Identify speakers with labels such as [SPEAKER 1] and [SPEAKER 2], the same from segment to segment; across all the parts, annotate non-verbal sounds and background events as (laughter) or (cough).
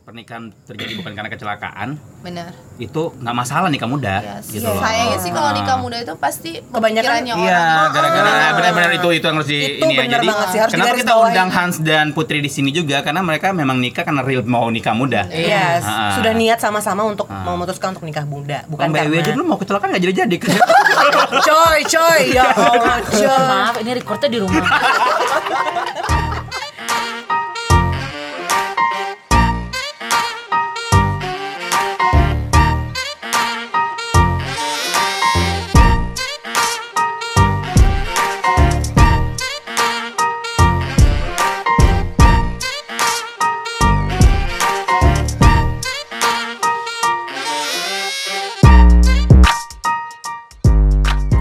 [SPEAKER 1] pernikahan terjadi bukan karena kecelakaan
[SPEAKER 2] benar
[SPEAKER 1] itu nggak masalah nikah muda
[SPEAKER 2] Yes.
[SPEAKER 1] gitu
[SPEAKER 2] Yes.
[SPEAKER 1] loh.
[SPEAKER 3] Sayangnya sih kalau nikah
[SPEAKER 1] Ah.
[SPEAKER 3] muda itu pasti
[SPEAKER 2] Kebanyakan-
[SPEAKER 3] pikirannya
[SPEAKER 1] Iya,
[SPEAKER 3] orang.
[SPEAKER 1] gara-gara
[SPEAKER 3] Ah.
[SPEAKER 1] benar-benar itu itu yang harus di
[SPEAKER 4] Itu
[SPEAKER 1] ini ya.
[SPEAKER 4] benar
[SPEAKER 1] Jadi
[SPEAKER 4] banget sih, harus
[SPEAKER 1] kenapa
[SPEAKER 4] digaris
[SPEAKER 1] kita
[SPEAKER 4] bawahi.
[SPEAKER 1] undang Hans dan Putri di sini juga karena mereka memang nikah karena real mau nikah muda.
[SPEAKER 4] Yes,
[SPEAKER 1] Ah.
[SPEAKER 4] Iya, sudah niat sama-sama untuk
[SPEAKER 1] Ah.
[SPEAKER 4] memutuskan untuk nikah muda,
[SPEAKER 1] Bukan
[SPEAKER 4] bukan
[SPEAKER 1] Mbak Ewi aja
[SPEAKER 4] karena.
[SPEAKER 1] dulu mau kecelakaan nggak jadi-jadi. kan?
[SPEAKER 4] Coy, coy, ya
[SPEAKER 1] eh.
[SPEAKER 4] Allah, coy.
[SPEAKER 5] Maaf, ini recordnya di rumah.
[SPEAKER 1] (laughs)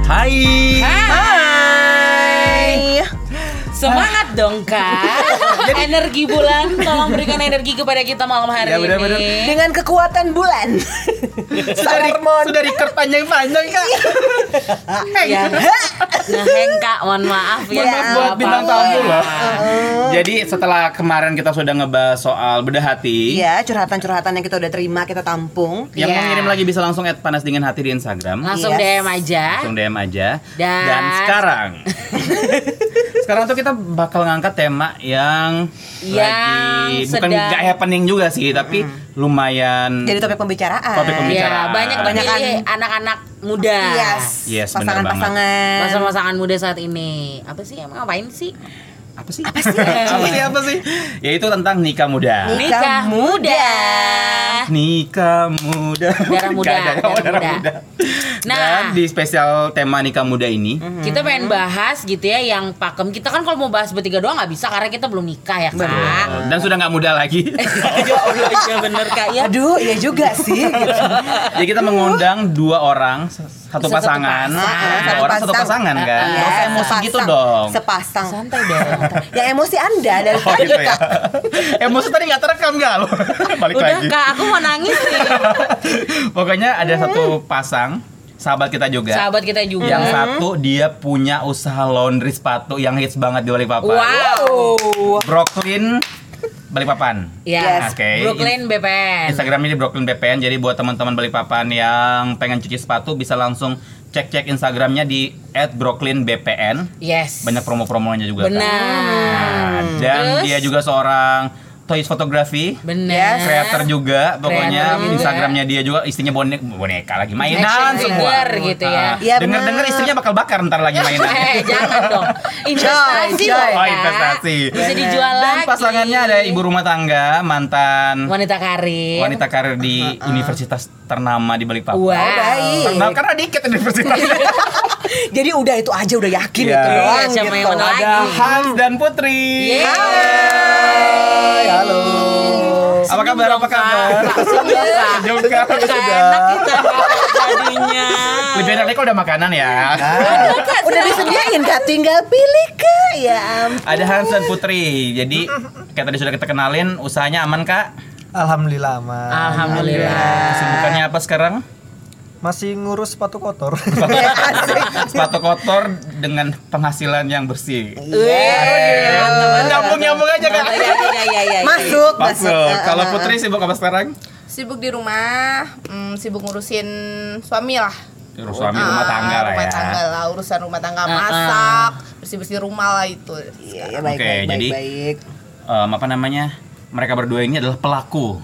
[SPEAKER 1] Hai.
[SPEAKER 4] Hai.
[SPEAKER 5] Semangat
[SPEAKER 1] (laughs)
[SPEAKER 5] dong kak. energi bulan, tolong berikan energi kepada kita malam hari
[SPEAKER 1] Ya, benar-benar.
[SPEAKER 5] ini.
[SPEAKER 4] Dengan kekuatan bulan.
[SPEAKER 1] (laughs) Sudah di sudah di record panjang-panjang Kak.
[SPEAKER 4] Iya.
[SPEAKER 5] Ya. Ngeheng kak, mohon maaf ya.
[SPEAKER 1] Mohon maaf
[SPEAKER 5] nggak
[SPEAKER 1] buat bintang
[SPEAKER 5] apa-apa.
[SPEAKER 1] tamu ya. loh.
[SPEAKER 4] Uh-uh.
[SPEAKER 1] Jadi setelah kemarin kita sudah ngebahas soal bedah hati,
[SPEAKER 4] Iya, curhatan-curhatan yang kita udah terima kita tampung.
[SPEAKER 1] yang
[SPEAKER 5] Iya.
[SPEAKER 1] mau ngirim lagi bisa langsung at panas dingin hati di Instagram.
[SPEAKER 5] Langsung
[SPEAKER 4] Yes.
[SPEAKER 5] DM aja.
[SPEAKER 1] langsung DM aja dan,
[SPEAKER 5] Dan-
[SPEAKER 1] sekarang (laughs) sekarang tuh kita bakal ngangkat tema yang lagi
[SPEAKER 5] Yang
[SPEAKER 1] bukan
[SPEAKER 5] sedang-
[SPEAKER 1] nggak happening juga sih tapi lumayan
[SPEAKER 4] Jadi topik pembicaraan.
[SPEAKER 1] Topik pembicaraan.
[SPEAKER 5] Ya,
[SPEAKER 1] Bicara.
[SPEAKER 5] banyak
[SPEAKER 4] Banyak
[SPEAKER 5] banyak
[SPEAKER 4] kan?
[SPEAKER 5] anak-anak muda.
[SPEAKER 4] Yes.
[SPEAKER 1] Yes, bener
[SPEAKER 4] pasangan-pasangan.
[SPEAKER 5] Pasangan-pasangan muda saat ini. Apa sih emang ngapain sih?
[SPEAKER 1] apa sih apa sih (laughs) apa sih apa sih yaitu tentang nikah muda
[SPEAKER 4] Nikah muda.
[SPEAKER 1] nikah muda
[SPEAKER 5] Darah muda,
[SPEAKER 1] Nggak ada,
[SPEAKER 5] darah
[SPEAKER 1] darah
[SPEAKER 5] muda.
[SPEAKER 1] muda. dan
[SPEAKER 5] Nah,
[SPEAKER 1] di spesial tema nikah muda ini
[SPEAKER 5] kita pengen bahas gitu ya yang pakem. Kita kan kalau mau bahas bertiga doang nggak bisa karena kita belum nikah ya, Kak.
[SPEAKER 1] eh, dan sudah nggak muda (laughs) lagi
[SPEAKER 5] ya Allah, ya bener Kak. Ya.
[SPEAKER 4] Aduh, iya juga
[SPEAKER 1] (laughs)
[SPEAKER 4] sih. gitu.
[SPEAKER 1] Jadi kita mengundang dua orang satu
[SPEAKER 5] Satu
[SPEAKER 1] pasangan,
[SPEAKER 5] pasangan.
[SPEAKER 1] dua orang satu
[SPEAKER 4] Pasang.
[SPEAKER 1] pasangan kan.
[SPEAKER 4] Iya,
[SPEAKER 1] Nggak usah emosi
[SPEAKER 4] sepasang.
[SPEAKER 1] gitu dong.
[SPEAKER 4] Sepasang.
[SPEAKER 5] Santai dong.
[SPEAKER 4] Ya emosi Anda dari
[SPEAKER 1] (laughs) Oh
[SPEAKER 4] tadi,
[SPEAKER 1] gitu ya.
[SPEAKER 4] Kak.
[SPEAKER 1] Emosi tadi nggak terekam nggak lo? (laughs) Balik
[SPEAKER 5] Udah
[SPEAKER 1] lagi.
[SPEAKER 5] Kak, aku mau nangis nih.
[SPEAKER 1] Pokoknya ada satu pasang sahabat kita juga.
[SPEAKER 5] Sahabat Mm-hmm. kita juga.
[SPEAKER 1] Yang satu dia punya usaha laundry sepatu yang hits banget di Balikpapan.
[SPEAKER 5] Wow.
[SPEAKER 1] Brooklyn Balikpapan.
[SPEAKER 5] Ya,
[SPEAKER 1] Yes. Oke.
[SPEAKER 5] Brooklyn BPN.
[SPEAKER 1] Instagram ini Brooklyn BPN. Jadi buat teman-teman Balikpapan yang pengen cuci sepatu bisa langsung cek-cek Instagramnya di @brooklynbpn.
[SPEAKER 5] Yes.
[SPEAKER 1] Banyak promo-promonya juga. kan?
[SPEAKER 5] Benar.
[SPEAKER 1] Nah, dan
[SPEAKER 5] Terus?
[SPEAKER 1] dia juga seorang toys fotografi.
[SPEAKER 5] Benar.
[SPEAKER 1] Creator juga, pokoknya
[SPEAKER 5] Eh, Creator juga.
[SPEAKER 1] Instagramnya dia juga istrinya boneka, boneka lagi mainan
[SPEAKER 5] Action
[SPEAKER 1] semua.
[SPEAKER 5] figure gitu ya.
[SPEAKER 4] Iya,
[SPEAKER 1] Dengar dengar
[SPEAKER 4] bener.
[SPEAKER 1] istrinya bakal bakar ntar lagi
[SPEAKER 5] (laughs)
[SPEAKER 1] mainan.
[SPEAKER 5] Eh, jangan dong. Investasi
[SPEAKER 4] Coy,
[SPEAKER 5] loh,
[SPEAKER 4] coy.
[SPEAKER 1] Oh
[SPEAKER 5] Kak.
[SPEAKER 1] investasi.
[SPEAKER 5] Bisa dijual
[SPEAKER 1] Dan
[SPEAKER 5] lagi.
[SPEAKER 1] pasangannya ada ibu rumah tangga mantan
[SPEAKER 5] wanita Uh-uh. karir.
[SPEAKER 1] wanita karir di universitas ternama di Balikpapan.
[SPEAKER 4] Oh,
[SPEAKER 5] Wow.
[SPEAKER 4] baik.
[SPEAKER 1] Ternama karena dikit universitas.
[SPEAKER 4] Jadi udah itu aja udah yakin
[SPEAKER 1] Iya.
[SPEAKER 4] itu
[SPEAKER 5] Iya,
[SPEAKER 4] doang
[SPEAKER 5] siapa
[SPEAKER 4] gitu.
[SPEAKER 5] yang menang?
[SPEAKER 1] ada
[SPEAKER 5] lagi.
[SPEAKER 1] Hans dan Putri.
[SPEAKER 5] Yeay.
[SPEAKER 1] Hai. Halo. Apa kabar?
[SPEAKER 5] dong,
[SPEAKER 1] Apa kabar?
[SPEAKER 5] Kak. Senyum, Kak.
[SPEAKER 1] Senyum, Kak.
[SPEAKER 5] Gak
[SPEAKER 1] Sudah.
[SPEAKER 5] enak kita jadinya.
[SPEAKER 1] Lebih enak nih kalau udah makanan ya.
[SPEAKER 4] Udah disediain Kak, tinggal pilih Kak. Ya ampun.
[SPEAKER 1] Ada Hans dan Putri. Jadi kayak tadi sudah kita kenalin, usahanya aman kak.
[SPEAKER 6] Alhamdulillah aman.
[SPEAKER 5] Alhamdulillah.
[SPEAKER 1] Kesibukannya apa
[SPEAKER 3] (laughs)
[SPEAKER 1] sekarang?
[SPEAKER 6] Masih ngurus sepatu kotor. (laughs)
[SPEAKER 1] Sepatu kotor dengan penghasilan yang bersih.
[SPEAKER 5] Iya.
[SPEAKER 1] Nyambung nyambung aja kak.
[SPEAKER 5] Iya, iya, iya, iya.
[SPEAKER 4] Masuk, masuk.
[SPEAKER 3] Eh,
[SPEAKER 1] Masuk. Kalau Putri sibuk apa sekarang?
[SPEAKER 3] Sibuk di rumah, mm, sibuk ngurusin suami lah.
[SPEAKER 1] Urus suami rumah
[SPEAKER 3] Ah,
[SPEAKER 1] tangga lah
[SPEAKER 3] rumah
[SPEAKER 1] ya.
[SPEAKER 3] tangga lah, urusan rumah tangga masak, bersih-bersih rumah lah itu.
[SPEAKER 4] Iya, iya, baik,
[SPEAKER 1] Oke,
[SPEAKER 4] baik, baik,
[SPEAKER 1] jadi-
[SPEAKER 4] baik.
[SPEAKER 1] Em, apa namanya? Mereka berdua ini adalah pelaku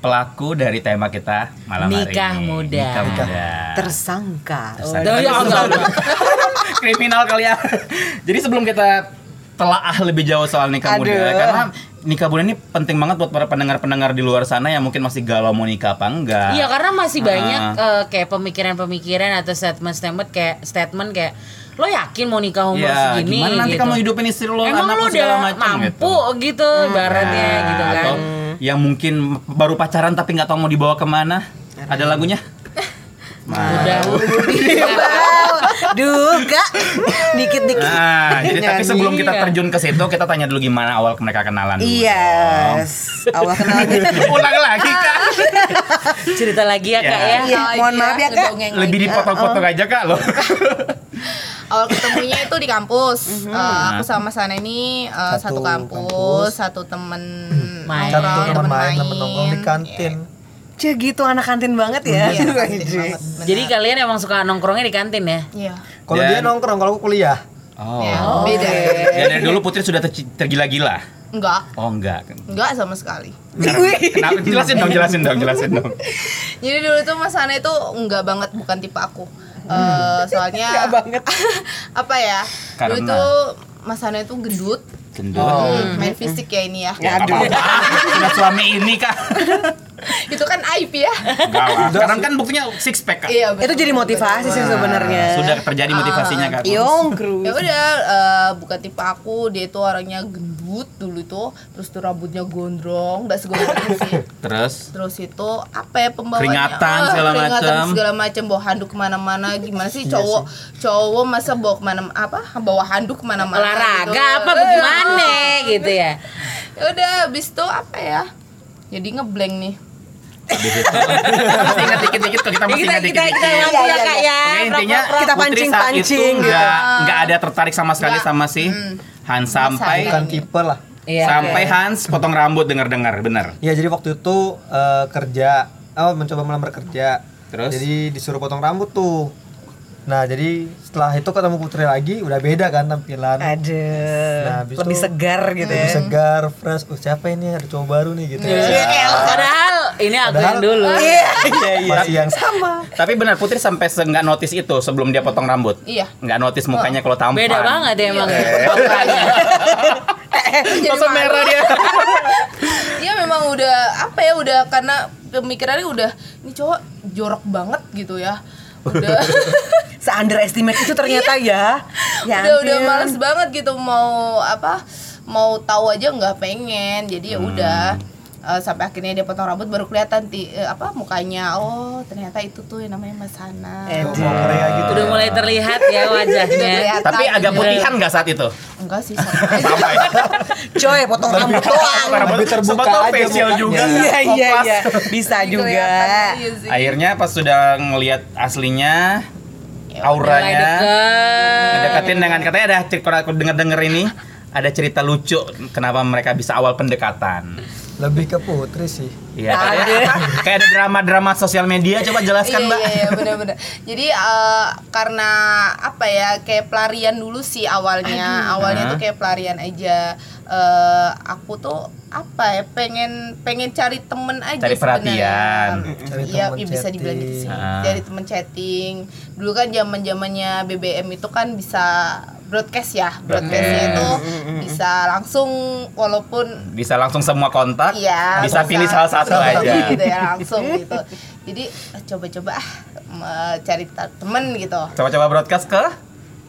[SPEAKER 1] pelaku dari tema kita malam
[SPEAKER 5] Nikah
[SPEAKER 1] hari ini.
[SPEAKER 5] muda.
[SPEAKER 1] Nikah muda.
[SPEAKER 4] Tersangka.
[SPEAKER 1] Tersangka.
[SPEAKER 5] Duh, ya Allah.
[SPEAKER 1] (laughs) kriminal kali ya. Jadi sebelum kita telaah lebih jauh soal nikah muda
[SPEAKER 4] Aduh.
[SPEAKER 1] karena nikah muda ini penting banget buat para pendengar-pendengar di luar sana yang mungkin masih galau mau nikah apa enggak.
[SPEAKER 5] Iya karena masih
[SPEAKER 1] Ah.
[SPEAKER 5] banyak eh, kayak pemikiran-pemikiran atau statement-statement kayak statement kayak lo yakin mau nikah umur
[SPEAKER 1] Iya,
[SPEAKER 5] segini
[SPEAKER 1] gimana nanti
[SPEAKER 5] gitu.
[SPEAKER 1] kamu hidupin istri lo
[SPEAKER 5] Emang
[SPEAKER 1] anak
[SPEAKER 5] lo
[SPEAKER 1] lo
[SPEAKER 5] udah
[SPEAKER 1] segala macam
[SPEAKER 5] mampu gitu, ibaratnya
[SPEAKER 1] Nah,
[SPEAKER 5] gitu kan.
[SPEAKER 1] Atau yang mungkin baru pacaran tapi nggak tahu mau dibawa kemana. Ada lagunya? Ah.
[SPEAKER 5] Udah.
[SPEAKER 1] (laughs) Iya,
[SPEAKER 4] Wow, duga dikit-dikit.
[SPEAKER 5] (laughs)
[SPEAKER 1] Nah, jadi tapi
[SPEAKER 4] Nyanyi.
[SPEAKER 1] sebelum kita terjun ke situ, kita tanya dulu gimana awal mereka kenalan. dulu.
[SPEAKER 5] Iya.
[SPEAKER 4] Iya,
[SPEAKER 1] Oh.
[SPEAKER 4] Yes, Allah kenalnya.
[SPEAKER 1] Ulang lagi
[SPEAKER 5] (laughs)
[SPEAKER 1] kak.
[SPEAKER 5] Cerita lagi ya,
[SPEAKER 1] Ya.
[SPEAKER 5] Kak ya.
[SPEAKER 4] Iya,
[SPEAKER 3] Ah,
[SPEAKER 4] mohon maaf ya, Kak.
[SPEAKER 3] ngedongeng lagi.
[SPEAKER 1] Lebih dipotong-potong
[SPEAKER 5] Oh.
[SPEAKER 1] aja kak loh.
[SPEAKER 3] awal ketemunya itu di kampus
[SPEAKER 1] Iya.
[SPEAKER 3] Eh, aku sama sana ini eh, satu,
[SPEAKER 6] Satu
[SPEAKER 3] kampus,
[SPEAKER 6] kampus.
[SPEAKER 3] satu temen
[SPEAKER 5] Main.
[SPEAKER 6] Satu
[SPEAKER 3] nongkrong,
[SPEAKER 6] teman main, teman nongkrong di
[SPEAKER 3] main.
[SPEAKER 6] kantin.
[SPEAKER 4] Cih gitu anak kantin banget ya. (laughs)
[SPEAKER 3] Iya, kantin
[SPEAKER 4] Wajib.
[SPEAKER 3] banget, benar.
[SPEAKER 5] Jadi kalian emang suka nongkrongnya di kantin ya?
[SPEAKER 3] Iya.
[SPEAKER 6] Kalau
[SPEAKER 1] Dan-
[SPEAKER 6] dia nongkrong, kalau aku kuliah.
[SPEAKER 1] Oh.
[SPEAKER 3] Ya, beda.
[SPEAKER 1] Ya, dari dulu Putri sudah ter- tergila-gila.
[SPEAKER 3] Enggak,
[SPEAKER 1] Oh enggak.
[SPEAKER 3] enggak sama sekali.
[SPEAKER 1] Kenapa? Jelasin dong, jelasin dong, jelasin dong.
[SPEAKER 3] Jadi dulu tuh Mas Hana itu enggak banget bukan tipe aku.
[SPEAKER 4] (laughs)
[SPEAKER 3] Eh, soalnya
[SPEAKER 4] Enggak banget.
[SPEAKER 3] (laughs) apa ya? Dulu
[SPEAKER 1] Karena?
[SPEAKER 3] tuh Mas Hana itu gendut.
[SPEAKER 1] Gendut.
[SPEAKER 3] Hmm, main fisik ya ini ya.
[SPEAKER 1] Ya, apa Sudah suami ini kak.
[SPEAKER 3] (laughs) Itu kan aib ya.
[SPEAKER 1] Enggak lah. Sekarang kan buktinya six pack kak.
[SPEAKER 3] Iya,
[SPEAKER 4] Itu
[SPEAKER 3] betul,
[SPEAKER 4] jadi
[SPEAKER 3] betul,
[SPEAKER 4] motivasi
[SPEAKER 3] betul.
[SPEAKER 4] sih sebenarnya.
[SPEAKER 1] Ah, Sudah terjadi motivasinya kak.
[SPEAKER 4] Yongkru.
[SPEAKER 3] ya udah eh, bukan tipe aku dia tuh orangnya gendut dulu tuh terus tuh rambutnya gondrong nggak segondrong ini sih
[SPEAKER 1] Terus
[SPEAKER 3] terus itu apa ya pembawaannya
[SPEAKER 1] Keringatan,
[SPEAKER 3] Eh,
[SPEAKER 1] segala Iya
[SPEAKER 3] keringatan
[SPEAKER 1] macam.
[SPEAKER 3] segala macam bawa handuk kemana-mana gimana sih cowok cowok masa bawa kemana apa bawa handuk kemana-mana
[SPEAKER 5] Olahraga
[SPEAKER 3] gitu.
[SPEAKER 5] apa
[SPEAKER 3] Eh,
[SPEAKER 5] bagaimana gitu ya?
[SPEAKER 3] ya udah abis itu apa ya jadi ngeblank nih
[SPEAKER 1] habis itu masih ingat dikit-dikit kok kita
[SPEAKER 5] Ya
[SPEAKER 1] masih
[SPEAKER 5] kita
[SPEAKER 1] ingat
[SPEAKER 5] kita
[SPEAKER 1] dikit-dikit.
[SPEAKER 5] kita bantu ya Kak ya.
[SPEAKER 1] Oke, intinya
[SPEAKER 5] Prok, prok, prok.
[SPEAKER 4] Kita
[SPEAKER 1] Putri saat
[SPEAKER 4] pancing-pancing
[SPEAKER 1] itu
[SPEAKER 4] gitu.
[SPEAKER 1] nggak nggak ada tertarik sama sekali
[SPEAKER 3] Nggak.
[SPEAKER 1] sama si Hans sampai
[SPEAKER 6] Bukan tipe lah.
[SPEAKER 5] Iya.
[SPEAKER 1] sampai Hans potong rambut dengar-dengar bener
[SPEAKER 6] Ya jadi waktu itu eh, kerja, oh, mencoba melamar kerja.
[SPEAKER 1] Terus?
[SPEAKER 6] Jadi disuruh potong rambut tuh. Nah jadi setelah itu ketemu Putri lagi, udah beda kan tampilan.
[SPEAKER 4] Ada
[SPEAKER 6] Nah, habis
[SPEAKER 4] lebih
[SPEAKER 6] itu-
[SPEAKER 4] segar gitu
[SPEAKER 6] Lebih
[SPEAKER 4] ya.
[SPEAKER 6] segar, fresh. Oh, siapa ini ada cowok baru nih gitu.
[SPEAKER 5] Iya. Padahal ini aku yang
[SPEAKER 6] Padahal-
[SPEAKER 5] dulu.
[SPEAKER 6] Iya, iya. Masih yang sama.
[SPEAKER 1] tapi benar Putri sampai se- nggak notice itu sebelum dia potong rambut
[SPEAKER 3] Iya.
[SPEAKER 1] nggak notice mukanya kalau tampan
[SPEAKER 5] Beda banget ya emang.
[SPEAKER 1] Iya.
[SPEAKER 3] Kan jadi
[SPEAKER 1] Sosok
[SPEAKER 3] malu.
[SPEAKER 1] merah dia
[SPEAKER 3] dia memang udah apa ya udah karena pemikirannya udah ini cowok jorok banget gitu ya udah
[SPEAKER 1] (laughs)
[SPEAKER 4] Se underestimate itu ternyata ya.
[SPEAKER 3] Iya.
[SPEAKER 4] Ya
[SPEAKER 3] udah udah
[SPEAKER 4] ampun.
[SPEAKER 3] males banget gitu mau apa mau tahu aja nggak pengen jadi ya udah Eh,
[SPEAKER 4] Hmm.
[SPEAKER 3] sampai akhirnya dia potong rambut baru kelihatan ti, eh, apa mukanya oh ternyata itu tuh yang namanya Mas Hana
[SPEAKER 4] Eh,
[SPEAKER 6] Cowok Korea gitu.
[SPEAKER 5] Udah mulai terlihat ya wajahnya.
[SPEAKER 3] Kelihatan
[SPEAKER 1] tapi agak
[SPEAKER 3] gitu.
[SPEAKER 1] putihan nggak saat itu
[SPEAKER 3] enggak sih sama (laughs) aja.
[SPEAKER 1] sampai
[SPEAKER 4] Coy, potong rambut doang.
[SPEAKER 6] Lebih terbuka
[SPEAKER 1] Sempat tuh
[SPEAKER 6] aja
[SPEAKER 1] facial
[SPEAKER 6] mukanya.
[SPEAKER 1] juga
[SPEAKER 4] Iya iya
[SPEAKER 1] Koplas.
[SPEAKER 4] iya. Bisa
[SPEAKER 3] Kelihatan
[SPEAKER 4] juga.
[SPEAKER 3] aja sih.
[SPEAKER 1] akhirnya pas sudah ngelihat aslinya
[SPEAKER 5] Mulai
[SPEAKER 1] auranya
[SPEAKER 5] deket.
[SPEAKER 1] Mendekatin dengan katanya ada cerita aku denger denger ini ada cerita lucu kenapa mereka bisa awal pendekatan.
[SPEAKER 6] Lebih ke Putri sih.
[SPEAKER 1] Iya. Kayak, (laughs) kayak ada drama-drama sosial media coba jelaskan kan,
[SPEAKER 3] iya,
[SPEAKER 1] mbak.
[SPEAKER 3] Iya, iya
[SPEAKER 1] (laughs)
[SPEAKER 3] benar-benar. Jadi eh, karena apa ya kayak pelarian dulu sih awalnya. Awalnya tuh
[SPEAKER 1] Hah?
[SPEAKER 3] kayak pelarian aja. Eh, aku tuh apa ya pengen pengen cari temen aja
[SPEAKER 1] Cari perhatian.
[SPEAKER 3] sebenarnya.
[SPEAKER 6] Cari
[SPEAKER 3] Iya,
[SPEAKER 6] temen
[SPEAKER 3] iya, bisa dibilang gitu sih.
[SPEAKER 1] chatting. Ah.
[SPEAKER 3] Cari temen chatting. Dulu kan zaman zamannya BBM itu kan bisa broadcast ya. Broadcastnya itu bisa langsung walaupun
[SPEAKER 1] Bisa langsung semua kontak.
[SPEAKER 3] Iya.
[SPEAKER 1] bisa pilih salah satu aja.
[SPEAKER 3] Gitu ya, langsung gitu. Jadi eh, coba-coba ah eh, cari ta- temen gitu.
[SPEAKER 1] Coba-coba broadcast ke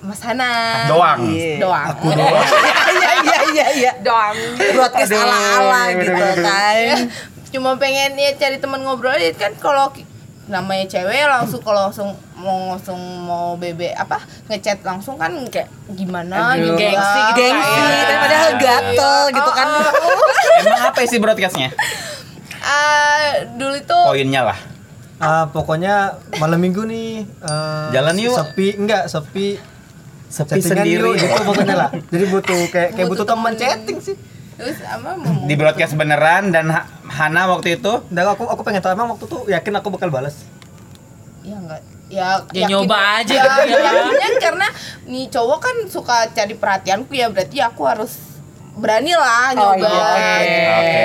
[SPEAKER 3] Mas Hana.
[SPEAKER 1] doang.
[SPEAKER 3] Doang.
[SPEAKER 4] Iya iya iya iya.
[SPEAKER 3] doang.
[SPEAKER 4] Broadcast ala-ala gitu kan.
[SPEAKER 3] (laughs) Cuma pengen ya cari temen ngobrol aja kan kalau ki- namanya cewek langsung kalau langsung mau langsung mau bebek apa ngechat langsung kan kayak gimana
[SPEAKER 5] Aduh,
[SPEAKER 3] gitu
[SPEAKER 5] gengsi
[SPEAKER 3] kan.
[SPEAKER 5] gitu
[SPEAKER 4] Gengsi,
[SPEAKER 1] Iya.
[SPEAKER 4] tapi padahal gatel gitu kan.
[SPEAKER 3] Oh, oh.
[SPEAKER 1] (laughs)
[SPEAKER 3] (laughs)
[SPEAKER 1] Emang apa sih broadcastnya?
[SPEAKER 3] Eh, dulu tuh
[SPEAKER 1] Poinnya lah.
[SPEAKER 6] Ah, pokoknya malam minggu nih eh,
[SPEAKER 1] Jalan yuk.
[SPEAKER 6] Sepi, enggak sepi.
[SPEAKER 1] Sepi
[SPEAKER 6] Chattingan
[SPEAKER 1] sendiri.
[SPEAKER 6] yuk, gitu pokoknya lah. Jadi butuh kayak kayak
[SPEAKER 3] Butuh
[SPEAKER 6] butuh, teman
[SPEAKER 3] temen.
[SPEAKER 6] chatting sih.
[SPEAKER 3] terus apa mau
[SPEAKER 1] Di broadcast beneran dan Ha- Hana waktu itu
[SPEAKER 6] Dan aku aku pengen tahu emang waktu tuh yakin aku bakal balas.
[SPEAKER 3] ya enggak ya,
[SPEAKER 5] Ya nyoba aja
[SPEAKER 3] ya,
[SPEAKER 5] gitu ya.
[SPEAKER 3] yakinnya karena nih cowok kan suka cari perhatianku ya berarti aku harus berani lah
[SPEAKER 4] Oh,
[SPEAKER 3] nyoba
[SPEAKER 4] iya.
[SPEAKER 3] gitu.
[SPEAKER 1] Oke.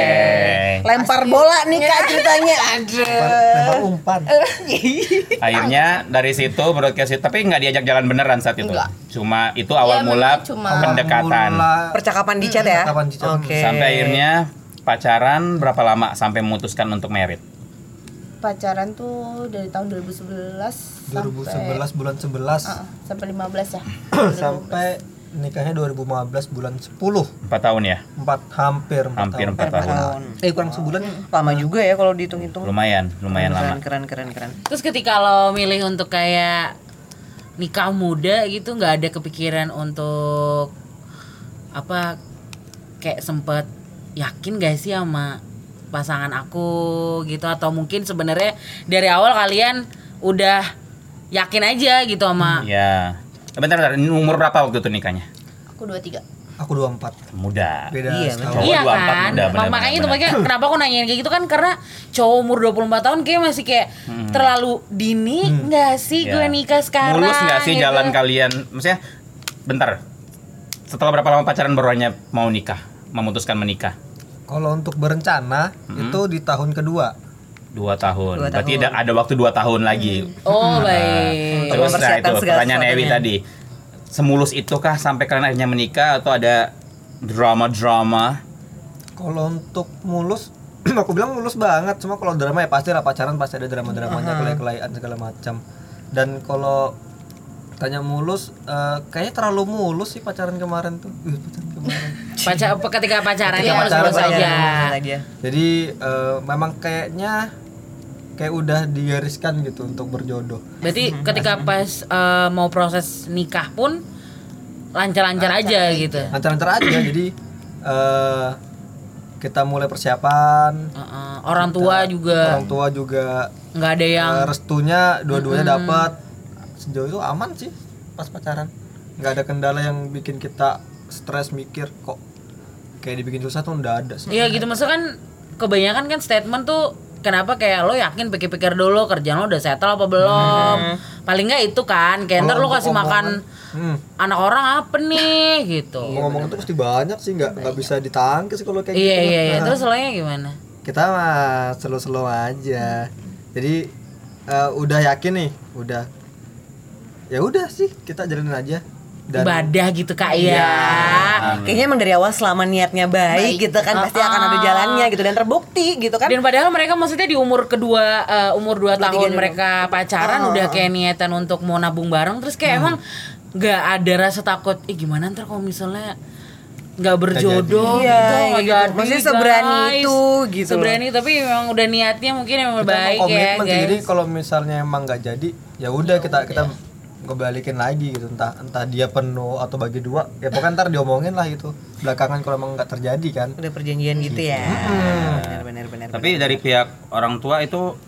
[SPEAKER 4] Lempar bola nih
[SPEAKER 3] Iya.
[SPEAKER 4] Kak ceritanya.
[SPEAKER 6] Lempar
[SPEAKER 4] Aduh.
[SPEAKER 6] umpan.
[SPEAKER 1] Akhirnya dari situ broadcast itu, tapi nggak diajak jalan beneran saat itu.
[SPEAKER 3] Enggak.
[SPEAKER 1] Cuma itu Iya, awal
[SPEAKER 3] Ya, memang
[SPEAKER 1] mula
[SPEAKER 3] cuma-
[SPEAKER 1] pendekatan.
[SPEAKER 6] Mula-
[SPEAKER 4] Percakapan di chat ya.
[SPEAKER 6] Percakapan di chat.
[SPEAKER 4] Oke.
[SPEAKER 1] Sampai akhirnya pacaran berapa lama sampai memutuskan untuk merit?
[SPEAKER 3] pacaran tuh dari tahun 2011 sampai Ah.
[SPEAKER 6] 2011 bulan 11
[SPEAKER 3] Heeh, sampai 15 ya
[SPEAKER 6] sampai nikahnya 2015 bulan 10
[SPEAKER 1] Empat tahun ya,
[SPEAKER 6] empat hampir empat
[SPEAKER 1] hampir
[SPEAKER 6] tahun.
[SPEAKER 1] empat tahun.
[SPEAKER 4] Eh kurang sebulan lama juga ya kalau dihitung-hitung.
[SPEAKER 1] Lumayan, lumayan lama.
[SPEAKER 4] Keren keren keren keren.
[SPEAKER 5] Terus ketika lo milih untuk kayak nikah muda gitu nggak ada kepikiran untuk apa kayak sempet yakin gak sih sama pasangan aku gitu atau mungkin sebenarnya dari awal kalian udah yakin aja gitu sama
[SPEAKER 1] Ya. Bentar, bentar. Ini umur berapa waktu itu nikahnya?
[SPEAKER 3] Aku 23
[SPEAKER 6] Aku 24
[SPEAKER 1] Muda.
[SPEAKER 6] Beda
[SPEAKER 4] Iya,
[SPEAKER 6] setahun.
[SPEAKER 1] betul.
[SPEAKER 5] iya
[SPEAKER 1] Cowok 24
[SPEAKER 5] kan
[SPEAKER 1] muda,
[SPEAKER 5] Ma-
[SPEAKER 1] benar,
[SPEAKER 5] makanya
[SPEAKER 1] benar,
[SPEAKER 5] itu makanya kenapa aku nanyain kayak gitu kan karena cowok umur 24 tahun kayak masih kayak
[SPEAKER 1] Hmm.
[SPEAKER 5] terlalu dini nggak sih
[SPEAKER 1] Ya.
[SPEAKER 5] gue nikah sekarang
[SPEAKER 1] Mulus nggak sih
[SPEAKER 5] gitu.
[SPEAKER 1] jalan kalian? Maksudnya, bentar. Setelah berapa lama pacaran baru hanya mau nikah? Memutuskan menikah?
[SPEAKER 6] Kalau untuk berencana
[SPEAKER 1] Hmm.
[SPEAKER 6] itu di tahun kedua.
[SPEAKER 1] Dua tahun.
[SPEAKER 4] Dua
[SPEAKER 1] Berarti
[SPEAKER 4] tahun. Hmm.
[SPEAKER 1] ada, ada waktu dua tahun lagi.
[SPEAKER 5] Oh
[SPEAKER 1] Nah,
[SPEAKER 5] baik.
[SPEAKER 1] Terus nah
[SPEAKER 4] mempersiapkan
[SPEAKER 1] itu
[SPEAKER 4] segala
[SPEAKER 1] pertanyaan Ewi
[SPEAKER 4] sesuatunya.
[SPEAKER 1] tadi. Semulus itukah sampai kalian akhirnya menikah atau ada drama-drama?
[SPEAKER 6] Kalau untuk mulus (clears throat) aku bilang mulus banget cuma kalau drama ya pasti lah pacaran pasti ada drama-dramanya kelai-kelaian segala macam dan kalau tanya mulus eh, kayaknya terlalu mulus sih pacaran kemarin tuh Wih,
[SPEAKER 5] (laughs)
[SPEAKER 6] pacaran kemarin
[SPEAKER 5] Pacar ketika pacaran
[SPEAKER 6] Ketika
[SPEAKER 5] ya harus
[SPEAKER 6] pacaran
[SPEAKER 5] mulus
[SPEAKER 6] aja.
[SPEAKER 5] aja.
[SPEAKER 4] Aja.
[SPEAKER 6] jadi eh, memang kayaknya kayak udah digariskan gitu untuk berjodoh
[SPEAKER 5] Berarti
[SPEAKER 6] Hmm.
[SPEAKER 5] ketika pas eh, mau proses nikah pun lancar-lancar aja gitu.
[SPEAKER 6] lancar-lancar
[SPEAKER 5] (clears throat)
[SPEAKER 6] aja jadi eh, kita mulai persiapan
[SPEAKER 5] Heeh. orang tua juga
[SPEAKER 6] orang tua juga
[SPEAKER 5] nggak ada yang
[SPEAKER 6] Eh, restunya dua-duanya dapat sejauh itu aman sih pas pacaran nggak ada kendala yang bikin kita stres mikir kok kayak dibikin susah tuh nggak ada sih
[SPEAKER 5] Iya gitu maksudnya kan kebanyakan kan statement tuh kenapa kayak lo yakin pikir-pikir dulu kerjaan lo udah settle apa belum
[SPEAKER 6] Hmm.
[SPEAKER 5] paling nggak itu kan kayak ntar
[SPEAKER 6] Kalau
[SPEAKER 5] lo
[SPEAKER 6] untuk
[SPEAKER 5] kasih makan Iya,
[SPEAKER 6] hmm.
[SPEAKER 5] anak orang apa nih gitu
[SPEAKER 6] ngomong itu pasti banyak sih nggak nggak bisa ditangkis kalau kayak
[SPEAKER 5] iya
[SPEAKER 6] gitu
[SPEAKER 5] iya iya terus lo nya gimana
[SPEAKER 6] kita mah slow-slow aja jadi eh, udah yakin nih udah ya udah sih kita jalanin aja dan Iya.
[SPEAKER 5] ibadah gitu kak ya,
[SPEAKER 4] Kayaknya emang dari awal selama niatnya baik, gitu kan pasti akan ada jalannya gitu dan terbukti gitu kan.
[SPEAKER 5] Dan padahal mereka maksudnya di umur kedua eh, umur 2 tahun
[SPEAKER 4] Oh.
[SPEAKER 5] mereka pacaran udah kayak niatan untuk mau nabung bareng terus
[SPEAKER 4] Hmm.
[SPEAKER 5] kayak emang nggak ada rasa takut eh gimana ntar kalau misalnya nggak
[SPEAKER 4] Iya,
[SPEAKER 5] berjodoh gitu,
[SPEAKER 4] iya
[SPEAKER 5] nggak
[SPEAKER 4] gitu.
[SPEAKER 5] jadi,
[SPEAKER 4] Maksudnya seberani itu, gitu
[SPEAKER 5] seberani tapi memang udah niatnya mungkin emang
[SPEAKER 6] kita emang
[SPEAKER 5] baik ya
[SPEAKER 6] komitmen sih.
[SPEAKER 5] guys
[SPEAKER 6] jadi kalau misalnya emang nggak jadi ya udah kita kita kebalikin lagi gitu entah entah dia penuh atau bagi dua ya pokoknya ntar diomongin lah gitu belakangan kalau emang nggak terjadi kan
[SPEAKER 4] Udah perjanjian gitu ya. Benar benar benar.
[SPEAKER 1] Tapi dari pihak orang tua itu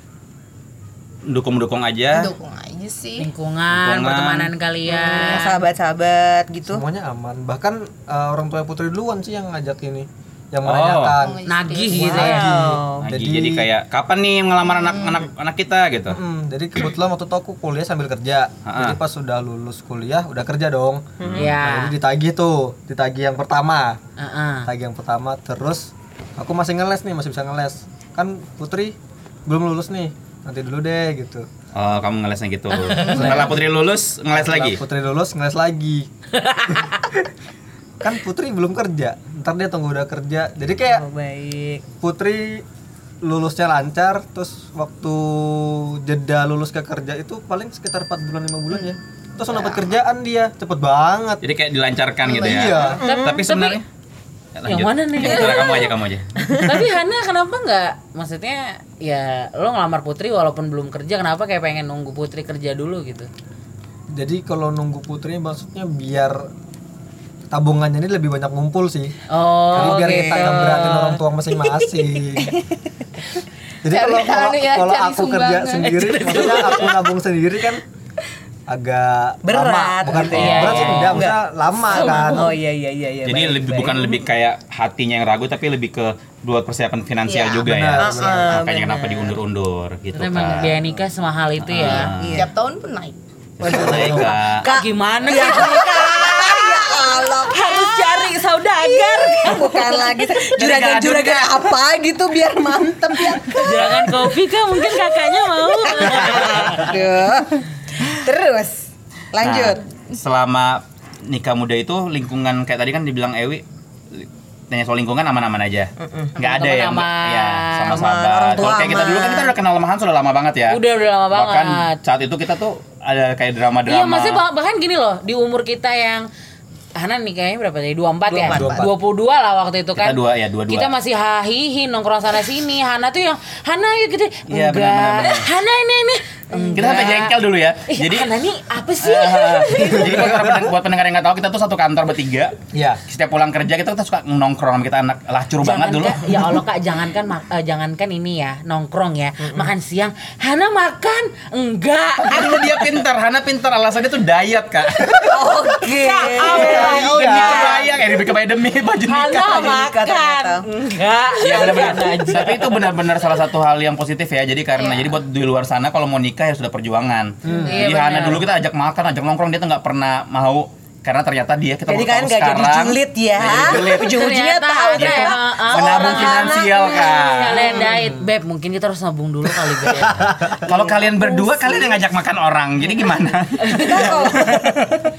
[SPEAKER 1] dukung-dukung aja.
[SPEAKER 3] Dukung aja sih
[SPEAKER 5] lingkungan pertemanan
[SPEAKER 4] Hmm.
[SPEAKER 5] kalian
[SPEAKER 4] Sahabat-sahabat gitu.
[SPEAKER 6] semuanya aman bahkan eh, orang tua putri duluan sih yang ngajak ini yang
[SPEAKER 1] Oh.
[SPEAKER 6] menanyakan
[SPEAKER 5] nagih gitu ya
[SPEAKER 4] Wow.
[SPEAKER 1] Lagi,
[SPEAKER 6] Jadi-
[SPEAKER 1] jadi, kayak kapan nih ngelamar anak
[SPEAKER 4] Hmm.
[SPEAKER 1] anak anak kita gitu.
[SPEAKER 6] Mm, jadi kebetulan waktu itu aku kuliah sambil kerja
[SPEAKER 1] Ha-ha.
[SPEAKER 6] jadi pas sudah lulus kuliah udah kerja dong
[SPEAKER 5] ya
[SPEAKER 6] Nah, jadi ditagih tuh ditagih yang pertama
[SPEAKER 5] Heeh.
[SPEAKER 6] Tag yang pertama terus aku masih ngeles nih masih bisa ngeles kan Putri belum lulus nih nanti dulu deh gitu
[SPEAKER 4] Hmm.
[SPEAKER 1] Oh, kamu ngelesnya
[SPEAKER 4] (laughs)
[SPEAKER 1] gitu. Setelah Putri lulus ngeles lagi.
[SPEAKER 6] Setelah Putri lulus ngeles lagi kan Putri belum kerja ntar dia tunggu udah kerja jadi kayak
[SPEAKER 4] Oh, baik.
[SPEAKER 6] Putri lulusnya lancar terus waktu jeda lulus ke kerja itu paling sekitar 4 bulan 5 bulan ya terus langsung dapat kerjaan dia cepet banget
[SPEAKER 1] Jadi kayak dilancarkan gitu ya.
[SPEAKER 6] Iya.
[SPEAKER 1] Tapi sebenarnya Ya, lanjut.
[SPEAKER 5] Yang mana nih?
[SPEAKER 1] Ya, udah, kamu aja kamu aja.
[SPEAKER 5] (laughs) Tapi Hana kenapa nggak? Maksudnya ya lo ngelamar Putri walaupun belum kerja kenapa kayak pengen nunggu Putri kerja dulu gitu?
[SPEAKER 6] jadi kalau nunggu Putri maksudnya biar tabungannya ini lebih banyak ngumpul sih Jadi
[SPEAKER 5] Oh
[SPEAKER 6] biar
[SPEAKER 5] gitu.
[SPEAKER 6] kita nggak beratin orang tua masing-masing. Jadi
[SPEAKER 3] Cari
[SPEAKER 6] kalau kalau,
[SPEAKER 3] anu ya,
[SPEAKER 6] kalau
[SPEAKER 3] cari
[SPEAKER 6] aku kerja
[SPEAKER 3] sumbangan.
[SPEAKER 6] sendiri, maksudnya aku nabung sendiri kan agak
[SPEAKER 4] Berat,
[SPEAKER 6] lama. bukan
[SPEAKER 4] gitu ya.
[SPEAKER 6] berat sih
[SPEAKER 4] Iya,
[SPEAKER 6] tidak,
[SPEAKER 4] iya.
[SPEAKER 6] maksudnya lama kan.
[SPEAKER 4] Oh iya iya iya iya.
[SPEAKER 1] Jadi
[SPEAKER 4] baik,
[SPEAKER 1] lebih
[SPEAKER 4] baik.
[SPEAKER 1] bukan lebih kayak hatinya yang ragu tapi lebih ke buat persiapan finansial
[SPEAKER 3] Iya,
[SPEAKER 1] juga
[SPEAKER 6] benar,
[SPEAKER 1] ya. Makanya kenapa diundur-undur gitu
[SPEAKER 5] Karena Emang
[SPEAKER 1] kan.
[SPEAKER 5] biaya nikah semahal itu ya.
[SPEAKER 3] Tiap tahun pun naik
[SPEAKER 1] Waduh, naik, Kak.
[SPEAKER 5] Kak gimana
[SPEAKER 4] Oh
[SPEAKER 5] ya?
[SPEAKER 4] Ya Allah, Iya. (laughs) harus cari
[SPEAKER 5] (laughs)
[SPEAKER 4] saudagar Kan bukan lagi juragan-juragan
[SPEAKER 1] kan?
[SPEAKER 4] apa gitu biar mantep ya.
[SPEAKER 5] Jangan kopi kak mungkin kakaknya mau.
[SPEAKER 4] Aduh. Terus lanjut.
[SPEAKER 1] Nah, selama nikah muda itu lingkungan kayak tadi kan dibilang Ewi li- tanya soal lingkungan aman-aman aja. Nggak ada
[SPEAKER 5] Teman
[SPEAKER 1] yang
[SPEAKER 5] aman,
[SPEAKER 1] ya sama
[SPEAKER 4] aman, orang
[SPEAKER 1] sahabat.
[SPEAKER 4] tua
[SPEAKER 1] Kalau kayak kita dulu kan kita udah kenal sama Hans udah lama banget ya.
[SPEAKER 5] Udah udah lama
[SPEAKER 1] Bahkan
[SPEAKER 5] banget.
[SPEAKER 1] saat itu kita tuh ada kayak drama-drama.
[SPEAKER 5] Iya maksudnya bah- bahkan gini loh di umur kita yang Hanan nikahnya berapa tadi? 24 ya?
[SPEAKER 6] 24.
[SPEAKER 5] 22 lah waktu itu kan.
[SPEAKER 1] Kita dua, ya, dua-dua.
[SPEAKER 5] Kita masih hahihi nongkrong sana sini. Hana tuh yang Hana yuk gitu.
[SPEAKER 1] Iya,
[SPEAKER 5] Enggak.
[SPEAKER 1] benar-benar.
[SPEAKER 5] Hana ini ini.
[SPEAKER 1] Hmm, Kita sampai
[SPEAKER 5] Enggak.
[SPEAKER 1] jengkel dulu ya.
[SPEAKER 5] Ih,
[SPEAKER 1] Jadi (laughs)
[SPEAKER 5] Hana nih Iya, apa sih? (laughs)
[SPEAKER 1] Ah, jadi buat, para penden- buat pendengar yang nggak tahu kita tuh satu kantor bertiga.
[SPEAKER 6] Iya.
[SPEAKER 1] Setiap pulang kerja kita kita suka nongkrong sama kita anak lacur banget dulu.
[SPEAKER 5] Jangankan- ya Allah kak jangankan mak- eh, jangankan ini ya nongkrong ya makan siang Hana makan enggak
[SPEAKER 1] Aduh dia pintar, Hana pintar alasannya tuh diet kak. Nah.
[SPEAKER 4] Oke. Iya,
[SPEAKER 1] Demi kebayang, eh demi demi (laughs) baju
[SPEAKER 5] Hana
[SPEAKER 1] nikah.
[SPEAKER 4] nikah
[SPEAKER 5] makan
[SPEAKER 4] ternyata.
[SPEAKER 5] (laughs) enggak
[SPEAKER 1] Iya benar-benar. Tapi itu benar-benar salah satu hal yang positif ya. Jadi karena jadi buat di luar sana kalau mau nikah ya sudah perjuangan. Jadi
[SPEAKER 5] Iya,
[SPEAKER 1] Hana
[SPEAKER 5] benar.
[SPEAKER 1] dulu kita ajak makan, ajak nongkrong dia tuh nggak pernah mau karena ternyata dia kita
[SPEAKER 4] Jadi
[SPEAKER 1] baru
[SPEAKER 4] kan
[SPEAKER 1] tahu
[SPEAKER 4] gak jadi
[SPEAKER 1] sekarang,
[SPEAKER 4] julid ya.
[SPEAKER 1] nggak jadi julid.
[SPEAKER 4] Ujung-ujungnya
[SPEAKER 5] Ternyata
[SPEAKER 4] tahu
[SPEAKER 5] ada
[SPEAKER 4] ternyata
[SPEAKER 5] emang, ah,
[SPEAKER 1] Menabung
[SPEAKER 4] seorang
[SPEAKER 1] finansial
[SPEAKER 4] anak.
[SPEAKER 1] kak.
[SPEAKER 5] Hmm,
[SPEAKER 1] Hmm.
[SPEAKER 5] kalian diet beb mungkin kita harus nabung dulu kali beb
[SPEAKER 1] Kalau kalian berdua kalian yang ngajak makan orang, jadi
[SPEAKER 5] (laughs)
[SPEAKER 1] gimana?
[SPEAKER 4] Kita
[SPEAKER 1] (laughs)
[SPEAKER 4] Iya, kalau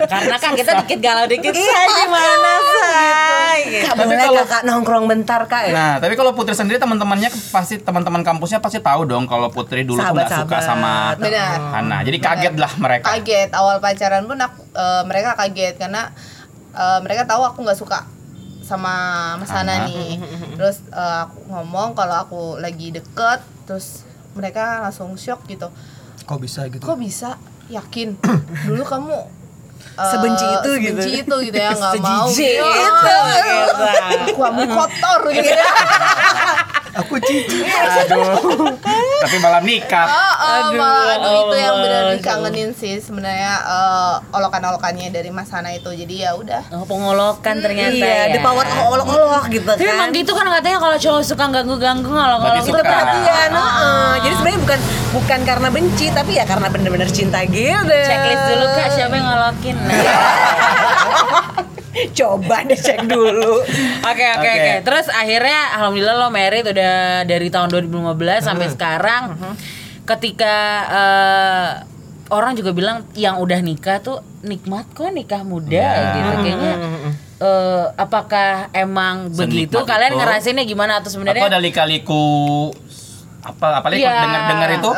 [SPEAKER 5] karena kan kita dikit galau dikit (laughs)
[SPEAKER 4] Iya gimana say?
[SPEAKER 5] Gitu.
[SPEAKER 4] Kak
[SPEAKER 1] Tapi
[SPEAKER 4] boleh
[SPEAKER 1] kalau-
[SPEAKER 4] kakak nongkrong bentar kak ya?
[SPEAKER 1] Nah, tapi kalau Putri sendiri teman-temannya pasti teman-teman kampusnya pasti tahu dong kalau Putri dulu tuh nggak suka sama
[SPEAKER 4] Sahabat-sahabat.
[SPEAKER 3] Benar.
[SPEAKER 1] Hana. Jadi kaget lah mereka.
[SPEAKER 3] kaget awal pacaran pun aku- eh, mereka kaget karena eh, mereka tahu aku nggak suka sama Mas Hana
[SPEAKER 1] Hana.
[SPEAKER 3] nih terus eh, aku ngomong kalau aku lagi deket terus mereka langsung shock gitu
[SPEAKER 6] Kok bisa gitu?
[SPEAKER 3] kok bisa yakin dulu kamu eh,
[SPEAKER 4] Sebenci itu gitu.
[SPEAKER 3] sebenci itu gitu ya nggak mau
[SPEAKER 5] Sejijik
[SPEAKER 3] gitu.
[SPEAKER 5] itu,
[SPEAKER 3] kamu kotor gitu ya
[SPEAKER 4] (laughs)
[SPEAKER 6] Aku cici.
[SPEAKER 1] Aduh. tapi malam nikah.
[SPEAKER 3] Oh, oh,
[SPEAKER 5] Aduh,
[SPEAKER 3] malah aduh, itu yang
[SPEAKER 5] Allah,
[SPEAKER 3] benar
[SPEAKER 5] Allah.
[SPEAKER 3] dikangenin sih sebenarnya eh, olokan-olokannya dari Mas Hana itu jadi ya udah
[SPEAKER 5] oh, pengolokan ternyata
[SPEAKER 4] Iya,
[SPEAKER 5] ya
[SPEAKER 4] the power of olok-olok gitu
[SPEAKER 5] tapi emang
[SPEAKER 4] kan.
[SPEAKER 5] gitu kan katanya kalau cowok suka ganggu-ganggu kalau kalau
[SPEAKER 1] Berarti
[SPEAKER 5] kita
[SPEAKER 1] suka. Nah,
[SPEAKER 4] perhatian. heeh. Iya,
[SPEAKER 5] Ah.
[SPEAKER 4] nah, Jadi sebenarnya bukan bukan karena benci tapi ya karena bener-bener cinta gitu.
[SPEAKER 5] checklist dulu kak siapa yang ngolokin Nah.
[SPEAKER 1] (laughs)
[SPEAKER 4] Coba deh cek dulu.
[SPEAKER 5] Oke oke
[SPEAKER 1] Oke.
[SPEAKER 5] oke. Terus akhirnya alhamdulillah lo married udah dari tahun 2015 sampai
[SPEAKER 1] Mm-hmm.
[SPEAKER 5] sekarang. Ketika eh, orang juga bilang yang udah nikah tuh nikmat kok nikah muda
[SPEAKER 1] Ya.
[SPEAKER 5] gitu kayaknya. eh, apakah emang begitu?
[SPEAKER 1] Senikmat
[SPEAKER 5] Kalian
[SPEAKER 1] itu.
[SPEAKER 5] ngerasainnya gimana atau
[SPEAKER 1] Atau
[SPEAKER 5] sebenarnya?
[SPEAKER 1] ada lika-liku apa apalagi
[SPEAKER 5] Iya.
[SPEAKER 1] kalau dengar-dengar itu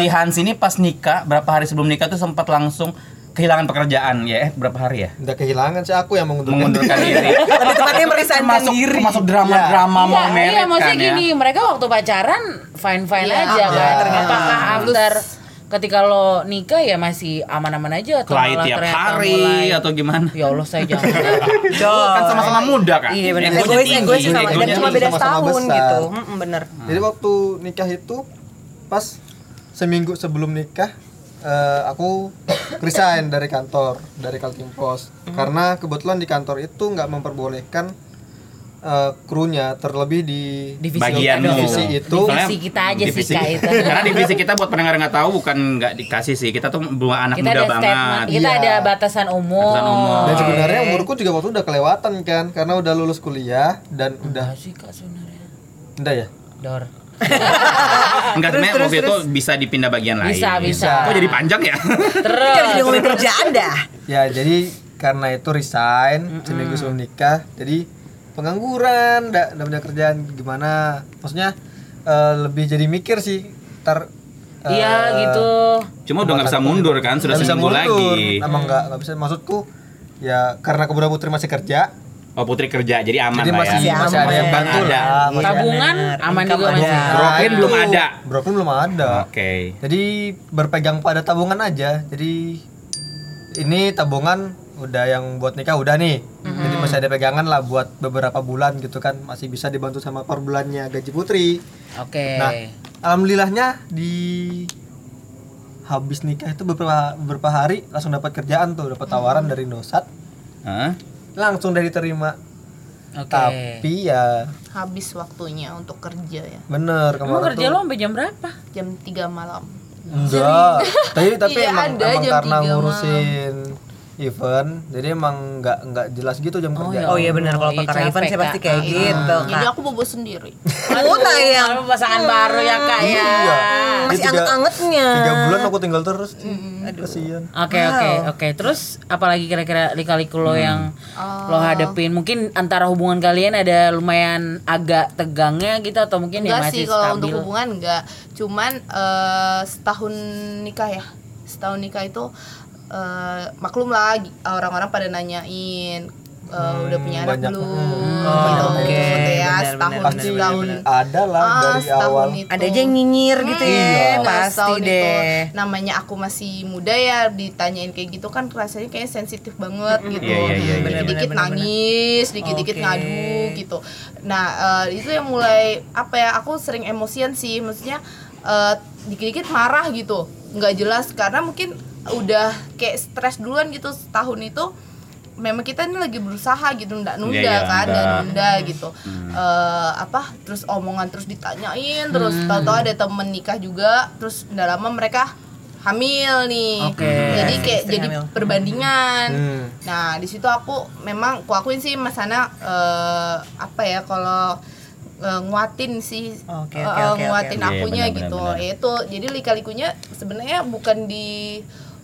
[SPEAKER 1] si Hans ini pas nikah berapa hari sebelum nikah tuh sempat langsung kehilangan pekerjaan ya eh, berapa hari ya
[SPEAKER 6] Udah kehilangan sih aku yang mengundurkan,
[SPEAKER 1] mengundurkan
[SPEAKER 5] (laughs)
[SPEAKER 1] diri
[SPEAKER 4] Lebih tepatnya merisaukan
[SPEAKER 1] masuk
[SPEAKER 4] diri.
[SPEAKER 1] masuk drama-drama mau
[SPEAKER 5] Iya,
[SPEAKER 1] merit
[SPEAKER 5] iya,
[SPEAKER 1] kan
[SPEAKER 5] maksudnya
[SPEAKER 1] ya
[SPEAKER 5] gini, mereka waktu pacaran fine fine
[SPEAKER 3] Iya,
[SPEAKER 5] aja kan.
[SPEAKER 6] ternyata.
[SPEAKER 5] Apakah after ketika lo nikah ya masih aman-aman aja atau
[SPEAKER 1] Kelahi
[SPEAKER 5] malah
[SPEAKER 1] tiap
[SPEAKER 5] ternyata
[SPEAKER 1] hari
[SPEAKER 5] mulai,
[SPEAKER 1] atau gimana
[SPEAKER 5] Ya Allah saya jangan.
[SPEAKER 1] kan sama-sama muda kan
[SPEAKER 5] Iya, benar.
[SPEAKER 1] Egonya
[SPEAKER 4] Egois,
[SPEAKER 1] tinggi,
[SPEAKER 4] egois sama
[SPEAKER 1] egonya
[SPEAKER 4] dan cuma
[SPEAKER 1] tinggi.
[SPEAKER 4] beda
[SPEAKER 6] Sama-sama
[SPEAKER 4] setahun
[SPEAKER 6] besar.
[SPEAKER 4] gitu. Mm-mm, bener.
[SPEAKER 6] Jadi waktu nikah itu pas seminggu sebelum nikah eh, aku resign dari kantor dari Kaltim Pos karena kebetulan di kantor itu nggak memperbolehkan eh, krunya terlebih di
[SPEAKER 5] Divisi
[SPEAKER 1] bagianmu
[SPEAKER 5] kita dong.
[SPEAKER 6] divisi itu
[SPEAKER 5] Divisi kita aja sih, Kak, itu.
[SPEAKER 1] karena divisi kita buat pendengar nggak tahu bukan nggak dikasih sih kita tuh buah anak
[SPEAKER 5] kita
[SPEAKER 1] muda
[SPEAKER 5] ada statement,
[SPEAKER 1] banget
[SPEAKER 5] kita
[SPEAKER 6] Iya.
[SPEAKER 5] ada batasan umur.
[SPEAKER 1] Batasan umur.
[SPEAKER 6] dan sebenarnya umurku juga waktu itu udah kelewatan kan karena udah lulus kuliah dan
[SPEAKER 5] Apa
[SPEAKER 6] udah
[SPEAKER 5] sih Kak sebenarnya?
[SPEAKER 6] udah ya
[SPEAKER 5] Dor.
[SPEAKER 1] Enggak sebenarnya waktu itu bisa dipindah bagian lain.
[SPEAKER 5] Bisa, bisa.
[SPEAKER 1] Kok jadi panjang ya? (laughs)
[SPEAKER 4] Jadi
[SPEAKER 5] Terus
[SPEAKER 4] udah ngomongin kerjaan dah.
[SPEAKER 6] ya jadi karena itu resign seminggu sebelum nikah jadi pengangguran ndak ndak punya kerjaan gimana maksudnya eh, lebih jadi mikir sih ter
[SPEAKER 5] Iya
[SPEAKER 6] eh,
[SPEAKER 5] gitu.
[SPEAKER 1] Cuma udah nggak bisa mundur kan, sudah
[SPEAKER 6] nggak bisa
[SPEAKER 1] seminggu
[SPEAKER 6] mundur.
[SPEAKER 1] lagi.
[SPEAKER 6] emang nggak nggak bisa maksudku ya karena kemudian putri masih kerja
[SPEAKER 1] Oh Putri kerja, jadi aman
[SPEAKER 6] jadi
[SPEAKER 1] lah
[SPEAKER 6] masih
[SPEAKER 1] ya.
[SPEAKER 6] masih ada yang
[SPEAKER 1] Masih
[SPEAKER 6] bantu
[SPEAKER 1] ada.
[SPEAKER 6] lah masih
[SPEAKER 5] Tabungan aman juga masih.
[SPEAKER 6] ada.
[SPEAKER 1] Broken belum ada. Oh.
[SPEAKER 6] broken belum ada
[SPEAKER 1] Oke.
[SPEAKER 6] Jadi berpegang pada tabungan aja. Jadi ini tabungan udah yang buat nikah udah nih.
[SPEAKER 5] Mm-hmm.
[SPEAKER 6] Jadi masih ada pegangan lah buat beberapa bulan gitu kan. Masih bisa dibantu sama per bulannya gaji putri.
[SPEAKER 5] Oke.
[SPEAKER 6] Nah, alhamdulillahnya di habis nikah itu beberapa beberapa hari langsung dapat kerjaan tuh, dapat
[SPEAKER 5] Mm-hmm.
[SPEAKER 6] tawaran dari Nosat,
[SPEAKER 1] Hah?
[SPEAKER 6] langsung dari terima.
[SPEAKER 5] Oke.
[SPEAKER 6] Tapi ya
[SPEAKER 3] habis waktunya untuk kerja ya
[SPEAKER 6] bener
[SPEAKER 5] Emang
[SPEAKER 6] kemarin
[SPEAKER 5] kerja
[SPEAKER 6] tuh-
[SPEAKER 5] lo sampai jam berapa?
[SPEAKER 3] jam 3 malam
[SPEAKER 6] Enggak. tapi tapi
[SPEAKER 3] Iya,
[SPEAKER 6] emang,
[SPEAKER 3] ada
[SPEAKER 6] emang
[SPEAKER 3] jam
[SPEAKER 6] karena
[SPEAKER 3] 3
[SPEAKER 6] ngurusin event, jadi emang nggak nggak jelas gitu jam kerja.
[SPEAKER 4] Oh iya bener kalau
[SPEAKER 5] Iya,
[SPEAKER 4] perkara
[SPEAKER 5] capek,
[SPEAKER 4] event saya pasti
[SPEAKER 5] Kak.
[SPEAKER 4] kayak gitu
[SPEAKER 3] jadi
[SPEAKER 4] kak.
[SPEAKER 3] aku bobo
[SPEAKER 5] (laughs)
[SPEAKER 3] sendiri
[SPEAKER 4] Aduh, tayang.
[SPEAKER 5] Kalau pasangan ya? baru ya Kak ya.
[SPEAKER 6] Iya. Ini
[SPEAKER 4] Masih
[SPEAKER 6] tiga-
[SPEAKER 4] anget-angetnya.
[SPEAKER 6] Tiga bulan aku tinggal terus. Kasihan.
[SPEAKER 5] Oke oke oke. Terus apalagi kira-kira lika-liku
[SPEAKER 1] Hmm.
[SPEAKER 5] lo yang lo hadepin? Mungkin antara hubungan kalian ada lumayan agak tegangnya gitu atau mungkin ya
[SPEAKER 3] enggak sih
[SPEAKER 5] masih
[SPEAKER 3] kalau
[SPEAKER 5] stabil?
[SPEAKER 3] untuk hubungan enggak cuman eh, setahun nikah ya setahun nikah itu eh, maklum lah gi- orang-orang pada nanyain eh, udah punya anak
[SPEAKER 6] banyak.
[SPEAKER 3] belum
[SPEAKER 6] Hmm.
[SPEAKER 5] Oh,
[SPEAKER 3] gitu
[SPEAKER 5] oke.
[SPEAKER 3] gitu ya
[SPEAKER 5] Benar,
[SPEAKER 3] setahun
[SPEAKER 5] benar, benar,
[SPEAKER 3] setahun
[SPEAKER 5] benar,
[SPEAKER 6] ada lah
[SPEAKER 3] Ah,
[SPEAKER 6] dari
[SPEAKER 3] setahun
[SPEAKER 6] awal
[SPEAKER 3] itu.
[SPEAKER 4] Ada aja yang nyinyir gitu ya,
[SPEAKER 3] Iya,
[SPEAKER 4] pasti
[SPEAKER 3] setahun itu.
[SPEAKER 4] deh.
[SPEAKER 3] namanya aku masih muda ya ditanyain kayak gitu kan rasanya kayak sensitif banget gitu
[SPEAKER 1] Iya, iya, iya, iya.
[SPEAKER 3] dikit-dikit
[SPEAKER 4] Benar, benar,
[SPEAKER 3] nangis dikit-dikit
[SPEAKER 4] Oke.
[SPEAKER 3] ngadu gitu nah eh, itu yang mulai apa ya aku sering emosian sih maksudnya eh, dikit-dikit marah gitu nggak jelas karena mungkin udah kayak stres duluan gitu setahun itu memang kita ini lagi berusaha gitu ndak nunda
[SPEAKER 1] Iya, iya,
[SPEAKER 3] kan ndak
[SPEAKER 1] nunda.
[SPEAKER 3] nunda
[SPEAKER 4] Hmm.
[SPEAKER 3] gitu Eh, apa terus omongan terus ditanyain terus
[SPEAKER 4] Hmm.
[SPEAKER 3] tahu-tahu ada temen nikah juga terus ndak lama mereka hamil nih
[SPEAKER 5] Oke.
[SPEAKER 3] jadi kayak
[SPEAKER 4] Iya, Istri
[SPEAKER 3] jadi
[SPEAKER 4] hamil.
[SPEAKER 3] perbandingan
[SPEAKER 6] Hmm.
[SPEAKER 3] nah di situ aku memang ku akuin sih mas Ana eh, apa ya kalau eh, nguatin sih eh,
[SPEAKER 4] Oke, oke, oke, oke,
[SPEAKER 3] nguatin
[SPEAKER 1] oke. Iya,
[SPEAKER 3] akunya
[SPEAKER 1] benar,
[SPEAKER 3] gitu
[SPEAKER 1] benar, benar.
[SPEAKER 3] Ya itu jadi lika-likunya sebenarnya bukan di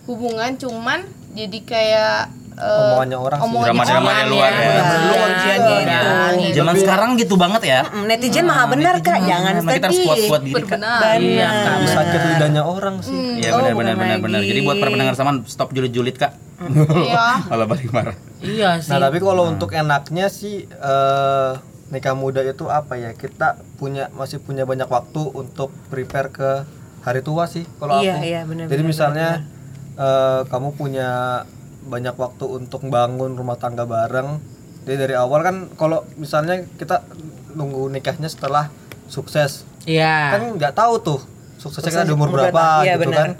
[SPEAKER 3] hubungan cuman jadi kayak eh,
[SPEAKER 6] Omongannya orang sih.
[SPEAKER 3] omongannya
[SPEAKER 1] Drama-dramanya
[SPEAKER 3] orang,
[SPEAKER 1] luar ya.
[SPEAKER 4] Mudah-mudahan
[SPEAKER 5] mudah-mudahan.
[SPEAKER 4] gitu.
[SPEAKER 1] Zaman sekarang gitu banget ya.
[SPEAKER 4] Mm, Netizen maha benar kak, jangan
[SPEAKER 1] Emang kita harus
[SPEAKER 4] sedih.
[SPEAKER 3] gitu.
[SPEAKER 1] kuat-kuat diri Kak.
[SPEAKER 3] Berbenar.
[SPEAKER 1] Iya, Kak.
[SPEAKER 6] Terus sakit lidahnya orang sih
[SPEAKER 1] Iya
[SPEAKER 4] Oh,
[SPEAKER 1] benar
[SPEAKER 4] bukan
[SPEAKER 1] benar benar benar.
[SPEAKER 4] lagi.
[SPEAKER 1] Jadi buat para pendengar sama stop julid-julid
[SPEAKER 4] (laughs)
[SPEAKER 1] Kak.
[SPEAKER 3] Iya.
[SPEAKER 1] Malah balik marah.
[SPEAKER 5] Iya sih.
[SPEAKER 6] Nah tapi kalau untuk enaknya sih eh, nikah muda itu apa ya kita punya masih punya banyak waktu untuk prepare ke hari tua sih kalau
[SPEAKER 4] Iya,
[SPEAKER 6] aku.
[SPEAKER 4] iya, benar,
[SPEAKER 6] Jadi
[SPEAKER 4] benar,
[SPEAKER 6] misalnya eh, kamu punya banyak waktu untuk bangun rumah tangga bareng. Jadi dari awal kan kalau misalnya kita nunggu nikahnya setelah sukses
[SPEAKER 5] Iya.
[SPEAKER 6] kan nggak tahu tuh suksesnya kita
[SPEAKER 4] Sukses
[SPEAKER 6] di umur
[SPEAKER 4] umur
[SPEAKER 6] berapa
[SPEAKER 4] berapa, iya,
[SPEAKER 6] gitu
[SPEAKER 4] benar.
[SPEAKER 6] kan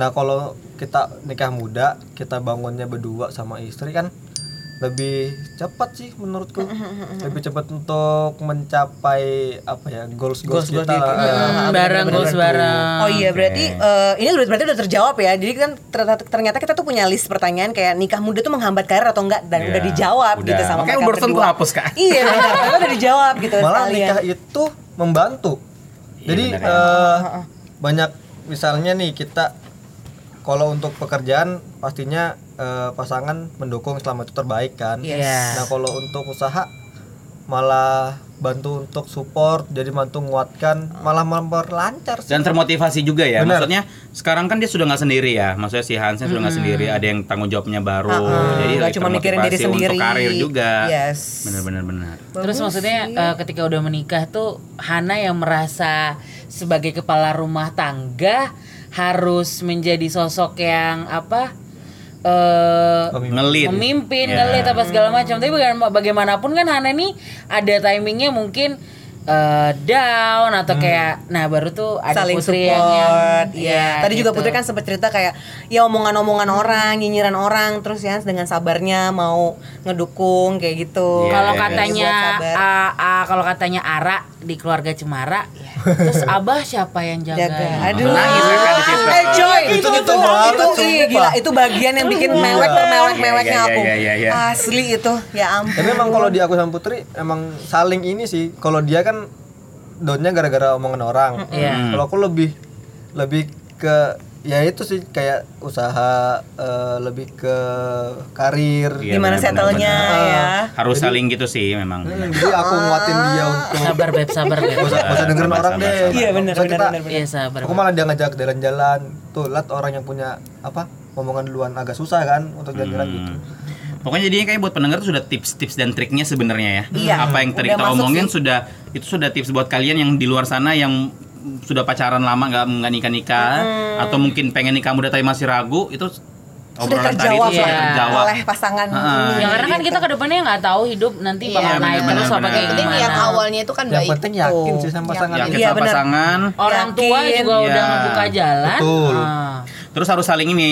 [SPEAKER 6] nah kalau kita nikah muda kita bangunnya berdua sama istri kan lebih cepat sih menurutku
[SPEAKER 4] Mm-hmm,
[SPEAKER 6] lebih cepat untuk mencapai apa ya goals goals,
[SPEAKER 4] Goals-goals Mm-hmm.
[SPEAKER 6] kita Iya. lah.
[SPEAKER 1] eh,
[SPEAKER 5] Hmm, bareng goals bareng.
[SPEAKER 4] Oh iya berarti eh, ini udah berarti udah terjawab ya. Jadi kan ternyata, ternyata kita tuh punya list pertanyaan kayak nikah muda tuh menghambat karir atau enggak
[SPEAKER 1] Iya,
[SPEAKER 4] dan udah dijawab
[SPEAKER 1] udah.
[SPEAKER 4] gitu sama
[SPEAKER 1] Makanya
[SPEAKER 4] mereka
[SPEAKER 1] barusan
[SPEAKER 4] berdua.
[SPEAKER 1] gua hapus, Kak.
[SPEAKER 4] Iya, benar. Karena udah dijawab gitu
[SPEAKER 6] malah
[SPEAKER 4] sekalian.
[SPEAKER 6] nikah itu membantu
[SPEAKER 1] Iya,
[SPEAKER 6] jadi
[SPEAKER 1] benar ya.
[SPEAKER 6] eh, banyak misalnya nih kita kalau untuk pekerjaan pastinya eh, pasangan mendukung selama itu terbaik kan
[SPEAKER 5] Yes.
[SPEAKER 6] nah kalau untuk usaha malah bantu untuk support jadi bantu menguatkan malah memperlancar sih
[SPEAKER 1] dan termotivasi juga ya
[SPEAKER 6] Benar.
[SPEAKER 1] maksudnya sekarang kan dia sudah nggak sendiri ya maksudnya si Hansnya sudah nggak sendiri ada yang tanggung jawabnya baru jadi
[SPEAKER 4] nggak
[SPEAKER 1] lagi
[SPEAKER 4] cuma mikirin diri
[SPEAKER 1] termotivasi
[SPEAKER 4] sendiri.
[SPEAKER 1] untuk karir juga
[SPEAKER 4] Yes.
[SPEAKER 1] benar-benar benar
[SPEAKER 5] Terus maksudnya eh, ketika udah menikah tuh Hana yang merasa sebagai kepala rumah tangga harus menjadi sosok yang apa eh
[SPEAKER 1] ngelit
[SPEAKER 5] memimpin
[SPEAKER 1] Ya.
[SPEAKER 5] ngelit apa segala macam. Tapi baga- bagaimanapun kan Hana nih ada timingnya mungkin eh, down atau
[SPEAKER 1] Hmm.
[SPEAKER 5] kayak nah baru tuh ada
[SPEAKER 4] saling
[SPEAKER 5] putri yang,
[SPEAKER 4] support
[SPEAKER 5] yang-
[SPEAKER 1] Iya,
[SPEAKER 4] ya. Tadi juga
[SPEAKER 5] gitu.
[SPEAKER 4] Putri kan sempat cerita kayak ya omongan-omongan
[SPEAKER 1] Hmm.
[SPEAKER 4] orang, nyinyiran orang terus ya dengan sabarnya mau ngedukung kayak gitu.
[SPEAKER 1] Iya,
[SPEAKER 5] Kalau
[SPEAKER 1] iya, iya.
[SPEAKER 5] katanya
[SPEAKER 4] Buat sabar.
[SPEAKER 5] ah, ah, kalau katanya Ara di keluarga Cemara, ya.
[SPEAKER 1] (laughs)
[SPEAKER 5] terus Abah siapa yang jaga?
[SPEAKER 4] jaga. Aduh.
[SPEAKER 1] Nangis mereka kan di situ.
[SPEAKER 4] Eh coy, itu itu
[SPEAKER 6] Itu gitu
[SPEAKER 4] itu,
[SPEAKER 6] banget,
[SPEAKER 4] ih,
[SPEAKER 6] sumpah.
[SPEAKER 4] gila itu bagian yang bikin mewek tuh mewek meweknya
[SPEAKER 1] Iya, iya,
[SPEAKER 4] aku.
[SPEAKER 1] iya, iya, iya.
[SPEAKER 4] Asli itu, ya ampun.
[SPEAKER 6] tapi emang kalau di aku sama Putri emang saling ini sih kalau dia kan downnya gara-gara omongan orang
[SPEAKER 5] Iya.
[SPEAKER 6] kalau aku lebih lebih ke ya itu sih kayak usaha eh, lebih ke karir Eh,
[SPEAKER 1] Iya, benar,
[SPEAKER 4] Gimana
[SPEAKER 1] benar,
[SPEAKER 4] settlenya
[SPEAKER 1] benar.
[SPEAKER 4] ya?
[SPEAKER 1] harus saling gitu sih memang benar.
[SPEAKER 6] Hmm, jadi aku nguatin dia untuk
[SPEAKER 5] Sabar beb, sabar beb.
[SPEAKER 6] gak usah, gak usah dengerin
[SPEAKER 1] Sabar,
[SPEAKER 6] orang
[SPEAKER 1] sabar,
[SPEAKER 6] deh
[SPEAKER 1] sabar.
[SPEAKER 4] Iya, benar,
[SPEAKER 6] Maksudnya
[SPEAKER 4] benar,
[SPEAKER 6] kita-
[SPEAKER 4] benar, benar.
[SPEAKER 5] Iya sabar.
[SPEAKER 6] aku malah dia ngajak jalan-jalan tuh lihat orang yang punya apa omongan duluan agak susah kan untuk jalan-jalan
[SPEAKER 1] Hmm.
[SPEAKER 6] gitu
[SPEAKER 1] Pokoknya jadinya kayak buat pendengar tuh sudah tips-tips dan triknya sebenarnya ya.
[SPEAKER 4] Iya,
[SPEAKER 1] Apa yang tadi
[SPEAKER 4] udah
[SPEAKER 1] kita
[SPEAKER 4] masuk
[SPEAKER 1] omongin
[SPEAKER 4] sih.
[SPEAKER 1] sudah itu sudah tips buat kalian yang di luar sana yang sudah pacaran lama nggak nggak nikah nikah atau mungkin pengen nikah muda tapi masih ragu itu
[SPEAKER 4] Sudah
[SPEAKER 1] obrolan tadi itu
[SPEAKER 4] terjawab
[SPEAKER 1] sudah
[SPEAKER 5] lah.
[SPEAKER 1] terjawab.
[SPEAKER 4] oleh pasangan.
[SPEAKER 1] Heeh.
[SPEAKER 5] Ya karena kan kita ke depannya nggak tahu hidup nanti
[SPEAKER 3] Iya,
[SPEAKER 5] bakal naik
[SPEAKER 1] benar,
[SPEAKER 5] terus
[SPEAKER 1] benar,
[SPEAKER 5] apa
[SPEAKER 1] benar.
[SPEAKER 5] kayak
[SPEAKER 3] yang penting
[SPEAKER 5] gimana.
[SPEAKER 3] niat awalnya itu kan
[SPEAKER 6] yang
[SPEAKER 3] baik
[SPEAKER 6] penting yakin
[SPEAKER 4] Tuh.
[SPEAKER 6] sih sama pasangan
[SPEAKER 1] Yakin
[SPEAKER 4] Iya,
[SPEAKER 6] ini
[SPEAKER 1] Ya, sama
[SPEAKER 4] benar.
[SPEAKER 1] pasangan.
[SPEAKER 5] Orang tua
[SPEAKER 4] Yakin.
[SPEAKER 5] juga udah
[SPEAKER 1] Iya.
[SPEAKER 5] ngebuka jalan.
[SPEAKER 6] Betul.
[SPEAKER 5] Ah.
[SPEAKER 1] Terus harus saling ini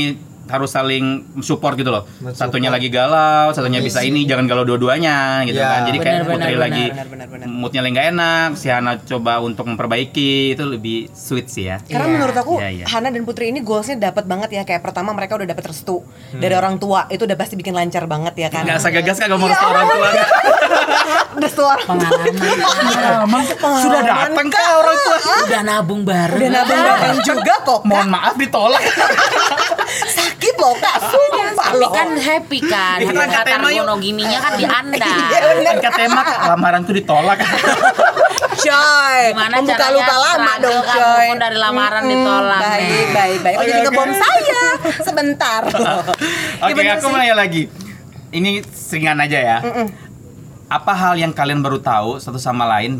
[SPEAKER 1] harus saling support gitu loh.
[SPEAKER 6] Support.
[SPEAKER 1] Satunya lagi galau, satunya bisa ini, jangan galau dua-duanya gitu
[SPEAKER 6] Iya.
[SPEAKER 1] kan. Jadi kayak
[SPEAKER 5] Benar, benar,
[SPEAKER 1] Putri
[SPEAKER 5] benar,
[SPEAKER 1] lagi
[SPEAKER 4] benar, benar, benar.
[SPEAKER 1] moodnya lagi nggak enak, si Hana coba untuk memperbaiki itu lebih sweet sih ya.
[SPEAKER 4] Karena
[SPEAKER 5] Iya,
[SPEAKER 4] menurut aku
[SPEAKER 1] iya, iya.
[SPEAKER 4] Hana dan Putri ini goalsnya dapat banget ya kayak pertama mereka udah dapat restu dari
[SPEAKER 5] Hmm.
[SPEAKER 4] orang tua itu udah pasti bikin lancar banget ya kan.
[SPEAKER 1] Gak
[SPEAKER 5] Iya.
[SPEAKER 1] usah gagas kagak mau restu orang tua
[SPEAKER 4] (laughs) restu orang
[SPEAKER 5] (laughs)
[SPEAKER 1] Pengalaman Sudah datang kah orang tua
[SPEAKER 5] Udah nabung bareng. Iya.
[SPEAKER 4] udah nabung bareng juga kok.
[SPEAKER 1] Mohon maaf ditolak
[SPEAKER 4] Sakit loh kak, sumpah
[SPEAKER 5] Iya. Tapi
[SPEAKER 4] loh.
[SPEAKER 5] kan happy kan.
[SPEAKER 1] Itu kan
[SPEAKER 5] Kata
[SPEAKER 1] kata Iya, Emma yuk.
[SPEAKER 5] monogininya kan di Anda.
[SPEAKER 1] Angkat tema Kan lamaran tuh ditolak
[SPEAKER 4] coy.
[SPEAKER 5] Gimana
[SPEAKER 4] Membuka
[SPEAKER 5] caranya
[SPEAKER 4] luka lama
[SPEAKER 5] struggle
[SPEAKER 4] dong
[SPEAKER 5] kamu
[SPEAKER 4] coy.
[SPEAKER 5] pun dari lamaran ditolak,
[SPEAKER 4] Baik,
[SPEAKER 5] Nek.
[SPEAKER 4] baik, baik. Oh, jadi ngebom saya sebentar.
[SPEAKER 1] Oke aku mau nanya lagi ini seringan aja ya. Apa hal yang kalian baru tahu satu sama lain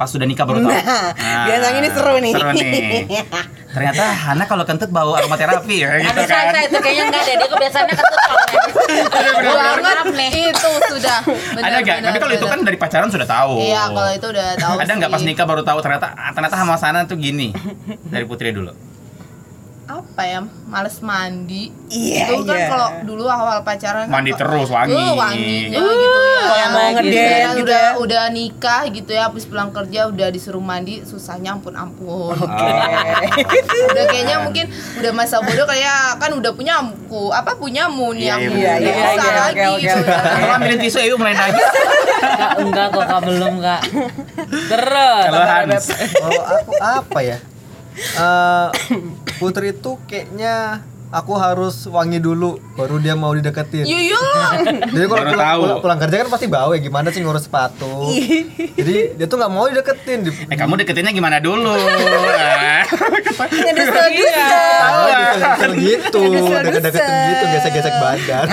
[SPEAKER 1] pas sudah nikah baru tahu?
[SPEAKER 4] Nah, biasanya ini seru nih.
[SPEAKER 1] Seru nih. Ternyata Hana kalau kentut bau aromaterapi ya gitu
[SPEAKER 5] Aduh
[SPEAKER 1] kan.
[SPEAKER 5] saya itu kayaknya enggak deh, dia kebiasaannya kentut
[SPEAKER 3] banget itu sudah
[SPEAKER 1] Ada nggak? Tapi kalau itu kan dari pacaran sudah tahu.
[SPEAKER 3] iya kalau itu udah tahu
[SPEAKER 1] Ada nggak
[SPEAKER 3] sih.
[SPEAKER 1] pas nikah baru tahu ternyata ah, ternyata sama sana tuh gini dari Putri dulu.
[SPEAKER 3] apa ya males mandi
[SPEAKER 4] Iya,
[SPEAKER 3] itu kan
[SPEAKER 4] iya.
[SPEAKER 3] kalau dulu awal pacaran kan
[SPEAKER 1] Mandi
[SPEAKER 3] kok-
[SPEAKER 1] terus, wangi.
[SPEAKER 3] Uh, wanginya gitu ya
[SPEAKER 4] kayak mau
[SPEAKER 3] Gitu
[SPEAKER 4] ngedate
[SPEAKER 3] ya,
[SPEAKER 4] gitu
[SPEAKER 3] udah
[SPEAKER 4] ya.
[SPEAKER 3] udah nikah gitu ya habis pulang kerja udah disuruh mandi susahnya ampun ampun
[SPEAKER 1] Oh.
[SPEAKER 3] udah kayaknya mungkin udah masa bodoh kayak kan udah punya aku apa punya mun
[SPEAKER 1] Iya,
[SPEAKER 3] yang
[SPEAKER 1] iya,
[SPEAKER 3] udah
[SPEAKER 4] iya,
[SPEAKER 3] susah
[SPEAKER 4] iya,
[SPEAKER 3] lagi
[SPEAKER 4] oke, oke,
[SPEAKER 3] gitu ya.
[SPEAKER 1] Kalau ambilin tisu ibu mulai nangis.
[SPEAKER 5] Kak, enggak kok kak belum kak terus
[SPEAKER 1] Kalau Hans.
[SPEAKER 6] Kalau aku apa ya? Eh, putri itu kayaknya aku harus wangi dulu baru dia mau dideketin.
[SPEAKER 3] Yuyung
[SPEAKER 6] Jadi kalau
[SPEAKER 1] Baru
[SPEAKER 6] pulang,
[SPEAKER 1] tahu.
[SPEAKER 6] pulang- pulang kerja kan pasti bau ya gimana sih ngurus sepatu. Jadi dia tuh nggak mau dideketin. Di,
[SPEAKER 1] Eh kamu deketinnya gimana dulu? Ah.
[SPEAKER 5] (laughs)
[SPEAKER 4] Ngedus-ngedus.
[SPEAKER 5] Iya.
[SPEAKER 6] Tahu diselingkuh gitu, deket-deketin gitu, gesek-gesek badan.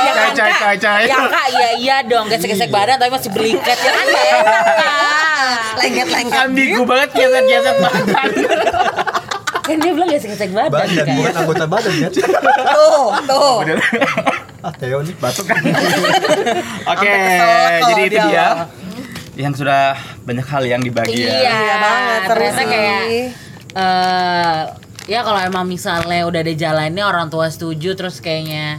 [SPEAKER 5] ya kan
[SPEAKER 1] Cai cai
[SPEAKER 5] kak
[SPEAKER 1] cai cai.
[SPEAKER 5] ya kak iya iya dong gesek-gesek badan tapi masih belikat ya kan nggak enak kak
[SPEAKER 4] Lengket-lengket.
[SPEAKER 1] Ambigu banget gesek-gesek badan.
[SPEAKER 5] (laughs) kan dia bilang gesek-gesek badan iya.
[SPEAKER 6] Badan
[SPEAKER 5] kak
[SPEAKER 6] bukan anggota badan kan?
[SPEAKER 4] Tuh, tuh.
[SPEAKER 6] Ah, Theo nih.
[SPEAKER 1] Batuk kan. Oke,
[SPEAKER 4] Sampai keselak kalau
[SPEAKER 1] jadi itu
[SPEAKER 4] dia
[SPEAKER 1] dia
[SPEAKER 4] mah.
[SPEAKER 1] yang sudah banyak hal yang dibagi ya.
[SPEAKER 5] Iya,
[SPEAKER 4] Iya banget, seru
[SPEAKER 5] ternyata
[SPEAKER 4] sih.
[SPEAKER 5] kayak eh ya kalau emang misalnya udah ada jalannya orang tua setuju terus kayaknya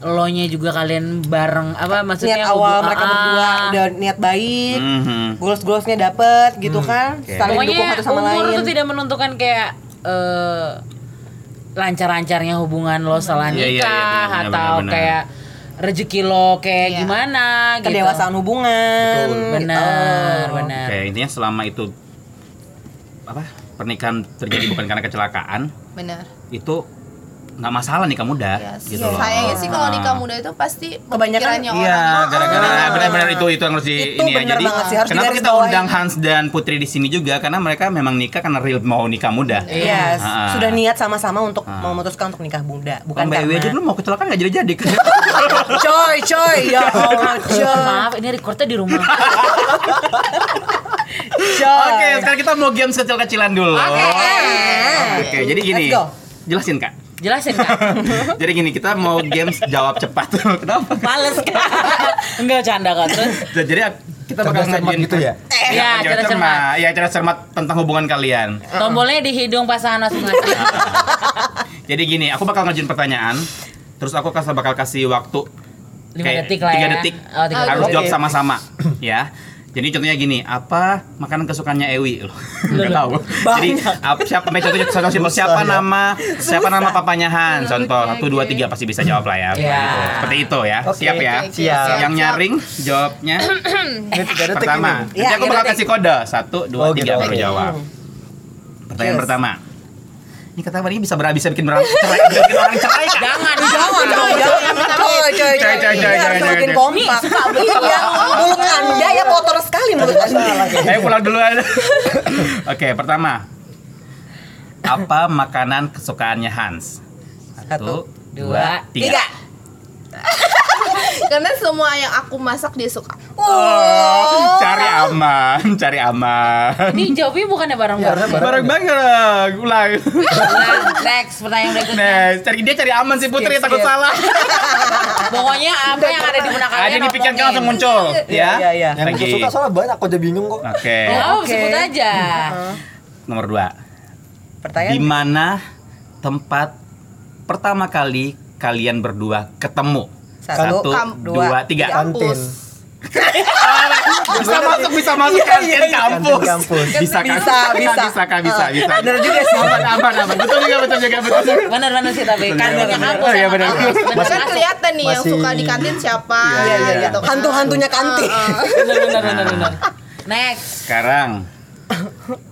[SPEAKER 5] elonya juga kalian bareng apa maksudnya
[SPEAKER 4] Niat awal
[SPEAKER 5] hubung-
[SPEAKER 4] mereka
[SPEAKER 5] Ah,
[SPEAKER 4] berdua udah niat baik.
[SPEAKER 1] Mhm.
[SPEAKER 4] Goals-goalsnya dapet gitu kan.
[SPEAKER 1] Hmm. Oke.
[SPEAKER 4] Saling
[SPEAKER 5] Pokoknya
[SPEAKER 4] dukung satu sama
[SPEAKER 5] umur
[SPEAKER 4] lain.
[SPEAKER 5] tuh tidak menentukan kayak eh, lancar-lancarnya hubungan lo setelah
[SPEAKER 1] Iya, iya,
[SPEAKER 5] nikah
[SPEAKER 1] iya, benar,
[SPEAKER 5] atau
[SPEAKER 1] benar, benar.
[SPEAKER 5] kayak rezeki lo kayak
[SPEAKER 3] Iya.
[SPEAKER 5] gimana gitu.
[SPEAKER 4] Kedewasaan hubungan. gitu.
[SPEAKER 5] Benar,
[SPEAKER 4] Oh,
[SPEAKER 5] benar.
[SPEAKER 1] Oke, intinya selama itu apa? Pernikahan terjadi bukan karena kecelakaan,
[SPEAKER 3] benar
[SPEAKER 1] itu nggak masalah nikah muda
[SPEAKER 3] Yes.
[SPEAKER 1] gitu
[SPEAKER 3] Iya,
[SPEAKER 1] loh.
[SPEAKER 3] Sayangnya sih kalau nikah
[SPEAKER 1] Ah.
[SPEAKER 3] muda itu pasti
[SPEAKER 4] Kebanyakan-
[SPEAKER 3] pemikirannya
[SPEAKER 1] Iya,
[SPEAKER 3] orang.
[SPEAKER 1] gara-gara benar-benar itu itu yang harus di
[SPEAKER 4] "Ah." Itu
[SPEAKER 1] ini ya.
[SPEAKER 4] bener
[SPEAKER 1] Jadi
[SPEAKER 4] banget sih, harus
[SPEAKER 1] kenapa kita
[SPEAKER 4] digarisbawahi.
[SPEAKER 1] undang Hans dan Putri di sini juga karena mereka memang nikah karena real mau nikah muda.
[SPEAKER 4] Iya,
[SPEAKER 1] Ah.
[SPEAKER 4] sudah niat sama-sama untuk
[SPEAKER 1] Ah.
[SPEAKER 4] memutuskan untuk nikah muda,
[SPEAKER 1] Bukan
[SPEAKER 4] bukan
[SPEAKER 1] Mbak Ewi aja
[SPEAKER 4] karena.
[SPEAKER 1] dulu mau kecelakaan nggak
[SPEAKER 4] (laughs)
[SPEAKER 1] jadi-jadi.
[SPEAKER 4] Coy, coy,
[SPEAKER 1] (laughs)
[SPEAKER 4] ya Allah, coy,
[SPEAKER 5] Maaf, ini recordnya di
[SPEAKER 4] (laughs)
[SPEAKER 5] rumah.
[SPEAKER 4] coy.
[SPEAKER 1] Oke, sekarang kita mau games kecil-kecilan dulu. Oke. jadi gini.
[SPEAKER 4] Let's go.
[SPEAKER 1] Jelasin, Kak. (laughs)
[SPEAKER 5] Jelasin kak.
[SPEAKER 1] jadi gini, kita mau games jawab cepat. (laughs) Kenapa? Kak?
[SPEAKER 5] Males kak. Enggak canda kak terus.
[SPEAKER 1] Jadi kita bakal
[SPEAKER 6] Cerdas cermat
[SPEAKER 1] ngajuin
[SPEAKER 6] gitu ya.
[SPEAKER 5] Ya,
[SPEAKER 1] Iya, cerdas
[SPEAKER 5] cerdas cermat.
[SPEAKER 1] cermat. Iya, cerdas cermat tentang hubungan kalian.
[SPEAKER 5] Tombolnya di hidung pasangan
[SPEAKER 1] (laughs)
[SPEAKER 5] masing-masing.
[SPEAKER 1] Jadi gini, aku bakal ngajuin pertanyaan, terus aku kasih bakal kasih waktu
[SPEAKER 5] Lima
[SPEAKER 1] kayak
[SPEAKER 5] detik lah
[SPEAKER 1] tiga
[SPEAKER 5] ya.
[SPEAKER 1] detik.
[SPEAKER 5] Oh, tiga
[SPEAKER 1] harus
[SPEAKER 4] detik.
[SPEAKER 1] jawab
[SPEAKER 4] Oke.
[SPEAKER 1] sama-sama, (clears throat) ya. Jadi contohnya gini, apa makanan kesukaannya Ewi loh? (laughs) Enggak tahu. Jadi apa, siapa contohnya contoh simpel siapa
[SPEAKER 6] Susah, ya.
[SPEAKER 1] nama siapa nama papanya Han? Contoh satu dua tiga pasti bisa jawab lah ya.
[SPEAKER 5] Iya.
[SPEAKER 1] Gitu. Seperti itu ya.
[SPEAKER 6] Oke,
[SPEAKER 1] Siap ya.
[SPEAKER 6] oke, siap.
[SPEAKER 1] Yang nyaring jawabnya
[SPEAKER 5] (clears throat)
[SPEAKER 6] Ini tiga detik
[SPEAKER 1] pertama.
[SPEAKER 6] ini.
[SPEAKER 1] Nanti
[SPEAKER 4] Iya,
[SPEAKER 1] aku
[SPEAKER 4] tiga
[SPEAKER 1] bakal
[SPEAKER 4] detik.
[SPEAKER 1] kasih kode satu dua
[SPEAKER 6] Oh,
[SPEAKER 1] tiga
[SPEAKER 6] gitu,
[SPEAKER 1] baru
[SPEAKER 6] oke.
[SPEAKER 1] jawab. Pertanyaan
[SPEAKER 4] Yes.
[SPEAKER 1] pertama. Ini kata ini bisa berhabis bikin orang cerai, bikin (laughs) orang cerai kan?
[SPEAKER 5] Jangan.
[SPEAKER 4] Jangan dong, jangan coy, coy,
[SPEAKER 1] Coy, coy,
[SPEAKER 4] coy. Ini
[SPEAKER 1] coy,
[SPEAKER 4] harus
[SPEAKER 1] coy,
[SPEAKER 4] makin
[SPEAKER 1] coy.
[SPEAKER 4] kompak. Iya, mulut anda ya kotor sekali mulut anda.
[SPEAKER 1] Ayo pulang duluan. (laughs) Oke, pertama. Apa makanan kesukaannya Hans?
[SPEAKER 4] Satu,
[SPEAKER 5] dua,
[SPEAKER 4] Tiga.
[SPEAKER 3] Karena semua yang aku masak dia suka.
[SPEAKER 1] Oh, cari aman, (laughs) cari aman.
[SPEAKER 5] Ini jawabnya bukannya
[SPEAKER 6] harusnya
[SPEAKER 1] Bareng
[SPEAKER 5] bareng-bareng.
[SPEAKER 1] bareng, ulang.
[SPEAKER 5] Nah, next pertanyaan berikutnya.
[SPEAKER 1] Nah, cari dia cari aman sih Putri
[SPEAKER 4] Skip,
[SPEAKER 1] takut
[SPEAKER 4] skip.
[SPEAKER 1] salah.
[SPEAKER 5] Pokoknya apa yang ada di benak kalian?
[SPEAKER 1] Ada di pikiran kalian langsung
[SPEAKER 5] omongin.
[SPEAKER 1] muncul, ya.
[SPEAKER 4] Iya, iya, iya.
[SPEAKER 6] Yang aku
[SPEAKER 1] Lagi.
[SPEAKER 6] suka soalnya banyak aku aja bingung kok.
[SPEAKER 1] Oke,
[SPEAKER 5] Oh,
[SPEAKER 4] Oke.
[SPEAKER 5] sebut aja.
[SPEAKER 1] nomor dua. Di
[SPEAKER 4] Pertanyaan.
[SPEAKER 1] mana tempat pertama kali kalian berdua ketemu?
[SPEAKER 4] Satu,
[SPEAKER 1] Satu,
[SPEAKER 4] kam-
[SPEAKER 1] dua,
[SPEAKER 4] dua,
[SPEAKER 3] (laughs)
[SPEAKER 1] tiga.
[SPEAKER 6] Kantin.
[SPEAKER 1] bisa masuk bisa masuk kantin kampus
[SPEAKER 6] Kantin kampus.
[SPEAKER 1] bisa kan
[SPEAKER 4] Bisa, bisa.
[SPEAKER 1] bisa kan bisa bisa
[SPEAKER 4] Bener juga sih.
[SPEAKER 1] aman aman aman betul juga betul juga betul juga
[SPEAKER 5] Benar-benar sih tapi
[SPEAKER 1] Benar,
[SPEAKER 5] kan
[SPEAKER 1] benar,
[SPEAKER 5] punya
[SPEAKER 1] benar.
[SPEAKER 5] kampus
[SPEAKER 1] Oh, iya,
[SPEAKER 5] sama
[SPEAKER 1] benar.
[SPEAKER 5] kampus. Benar,
[SPEAKER 3] Kan kelihatan nih yang
[SPEAKER 6] masih-
[SPEAKER 3] suka di kantin siapa
[SPEAKER 1] Iya, iya, iya.
[SPEAKER 3] gitu. kan.
[SPEAKER 4] Hantu-hantunya
[SPEAKER 5] Ah,
[SPEAKER 4] kantin.
[SPEAKER 5] Benar benar benar benar. Next.
[SPEAKER 1] sekarang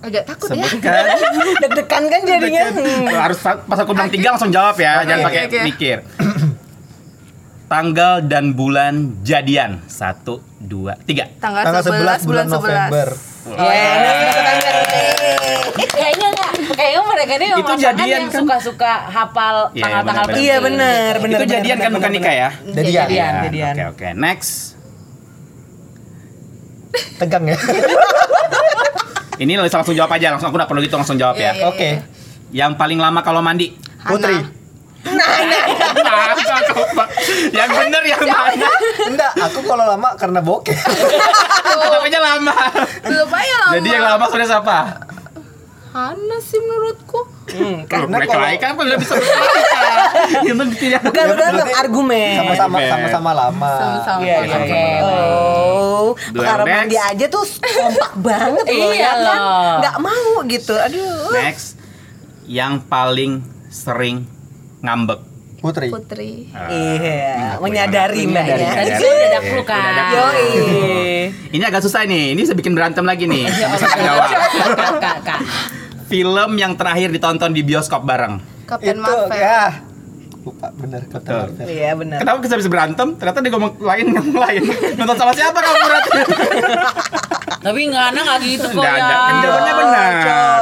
[SPEAKER 3] Agak takut ya.
[SPEAKER 1] sebutkan
[SPEAKER 4] Iya. (laughs) Deg-degan kan jadinya.
[SPEAKER 1] (laughs) harus pas aku bilang tiga langsung jawab ya jangan
[SPEAKER 3] Oke,
[SPEAKER 1] pakai
[SPEAKER 3] oke.
[SPEAKER 1] mikir tanggal dan bulan jadian satu dua tiga
[SPEAKER 6] Tanggal 11 bulan November.
[SPEAKER 5] Iya, Kayaknya enggak. Kayaknya mereka kadang
[SPEAKER 1] Itu
[SPEAKER 5] pasangan
[SPEAKER 1] jadian
[SPEAKER 5] yang
[SPEAKER 1] kan?
[SPEAKER 5] suka-suka hafal
[SPEAKER 1] Iya,
[SPEAKER 5] tanggal-tanggal
[SPEAKER 1] benar-benar.
[SPEAKER 4] Iya
[SPEAKER 5] penting.
[SPEAKER 4] benar, benar.
[SPEAKER 1] itu jadian kan bukan nikah ya?
[SPEAKER 4] Jadian,
[SPEAKER 5] Jadian,
[SPEAKER 4] jadian.
[SPEAKER 1] Oke oke. Next.
[SPEAKER 6] Tegang ya.
[SPEAKER 1] Ini langsung jawab aja, langsung aku nggak perlu gitu langsung jawab
[SPEAKER 3] Iya,
[SPEAKER 1] ya.
[SPEAKER 3] iya.
[SPEAKER 6] Oke.
[SPEAKER 1] Yang paling lama kalau mandi.
[SPEAKER 6] Putri.
[SPEAKER 1] (laughs) Mantap, kau, Pak. yang bener yang mana?
[SPEAKER 6] Enggak, aku kalau lama karena bokeh.
[SPEAKER 1] Tapi lama.
[SPEAKER 3] (laughs) Belum aja lama.
[SPEAKER 1] Jadi yang lama sudah siapa?
[SPEAKER 3] Hana sih menurutku.
[SPEAKER 6] Hmm,
[SPEAKER 1] Karena kalau kan aku udah bisa bercerita. Ya bener tidak.
[SPEAKER 4] Bukan berantem,
[SPEAKER 6] Berarti-
[SPEAKER 4] argumen.
[SPEAKER 6] Sama-sama sama-sama lama.
[SPEAKER 1] Ah,
[SPEAKER 3] Sama-sama.
[SPEAKER 5] Iya,
[SPEAKER 1] Oke,
[SPEAKER 5] iya,
[SPEAKER 1] oke.
[SPEAKER 5] iya.
[SPEAKER 4] Oh,
[SPEAKER 1] Duel
[SPEAKER 4] kalau
[SPEAKER 1] next.
[SPEAKER 4] mandi aja tuh kompak banget loh
[SPEAKER 5] Iya
[SPEAKER 4] ya kan?
[SPEAKER 5] loh.
[SPEAKER 4] Nggak mau gitu. Aduh.
[SPEAKER 1] Next. Yang paling sering ngambek. Hmm,
[SPEAKER 6] Putri.
[SPEAKER 3] Putri.
[SPEAKER 4] Iya, menyadari mbak ya.
[SPEAKER 5] Tadi sih udah ada clue kan.
[SPEAKER 4] Yoi.
[SPEAKER 1] Ini agak susah nih. Ini bisa bikin berantem lagi nih.
[SPEAKER 5] Ya
[SPEAKER 1] Nggak Bisa ketawa.
[SPEAKER 5] Kak, kak, kak.
[SPEAKER 1] Film yang terakhir ditonton di bioskop bareng.
[SPEAKER 3] Kapten
[SPEAKER 6] Itu
[SPEAKER 3] Marvel.
[SPEAKER 6] ya. Lupa bener Captain
[SPEAKER 1] Betul.
[SPEAKER 6] Marvel.
[SPEAKER 4] Iya benar.
[SPEAKER 1] Kenapa kita bisa berantem? Ternyata dia ngomong lain yang lain. Nonton sama siapa kamu berarti?
[SPEAKER 5] Tapi nggak anak nggak gitu kok
[SPEAKER 1] Enggak ada.
[SPEAKER 5] ya.
[SPEAKER 1] Kan Jawabannya benar.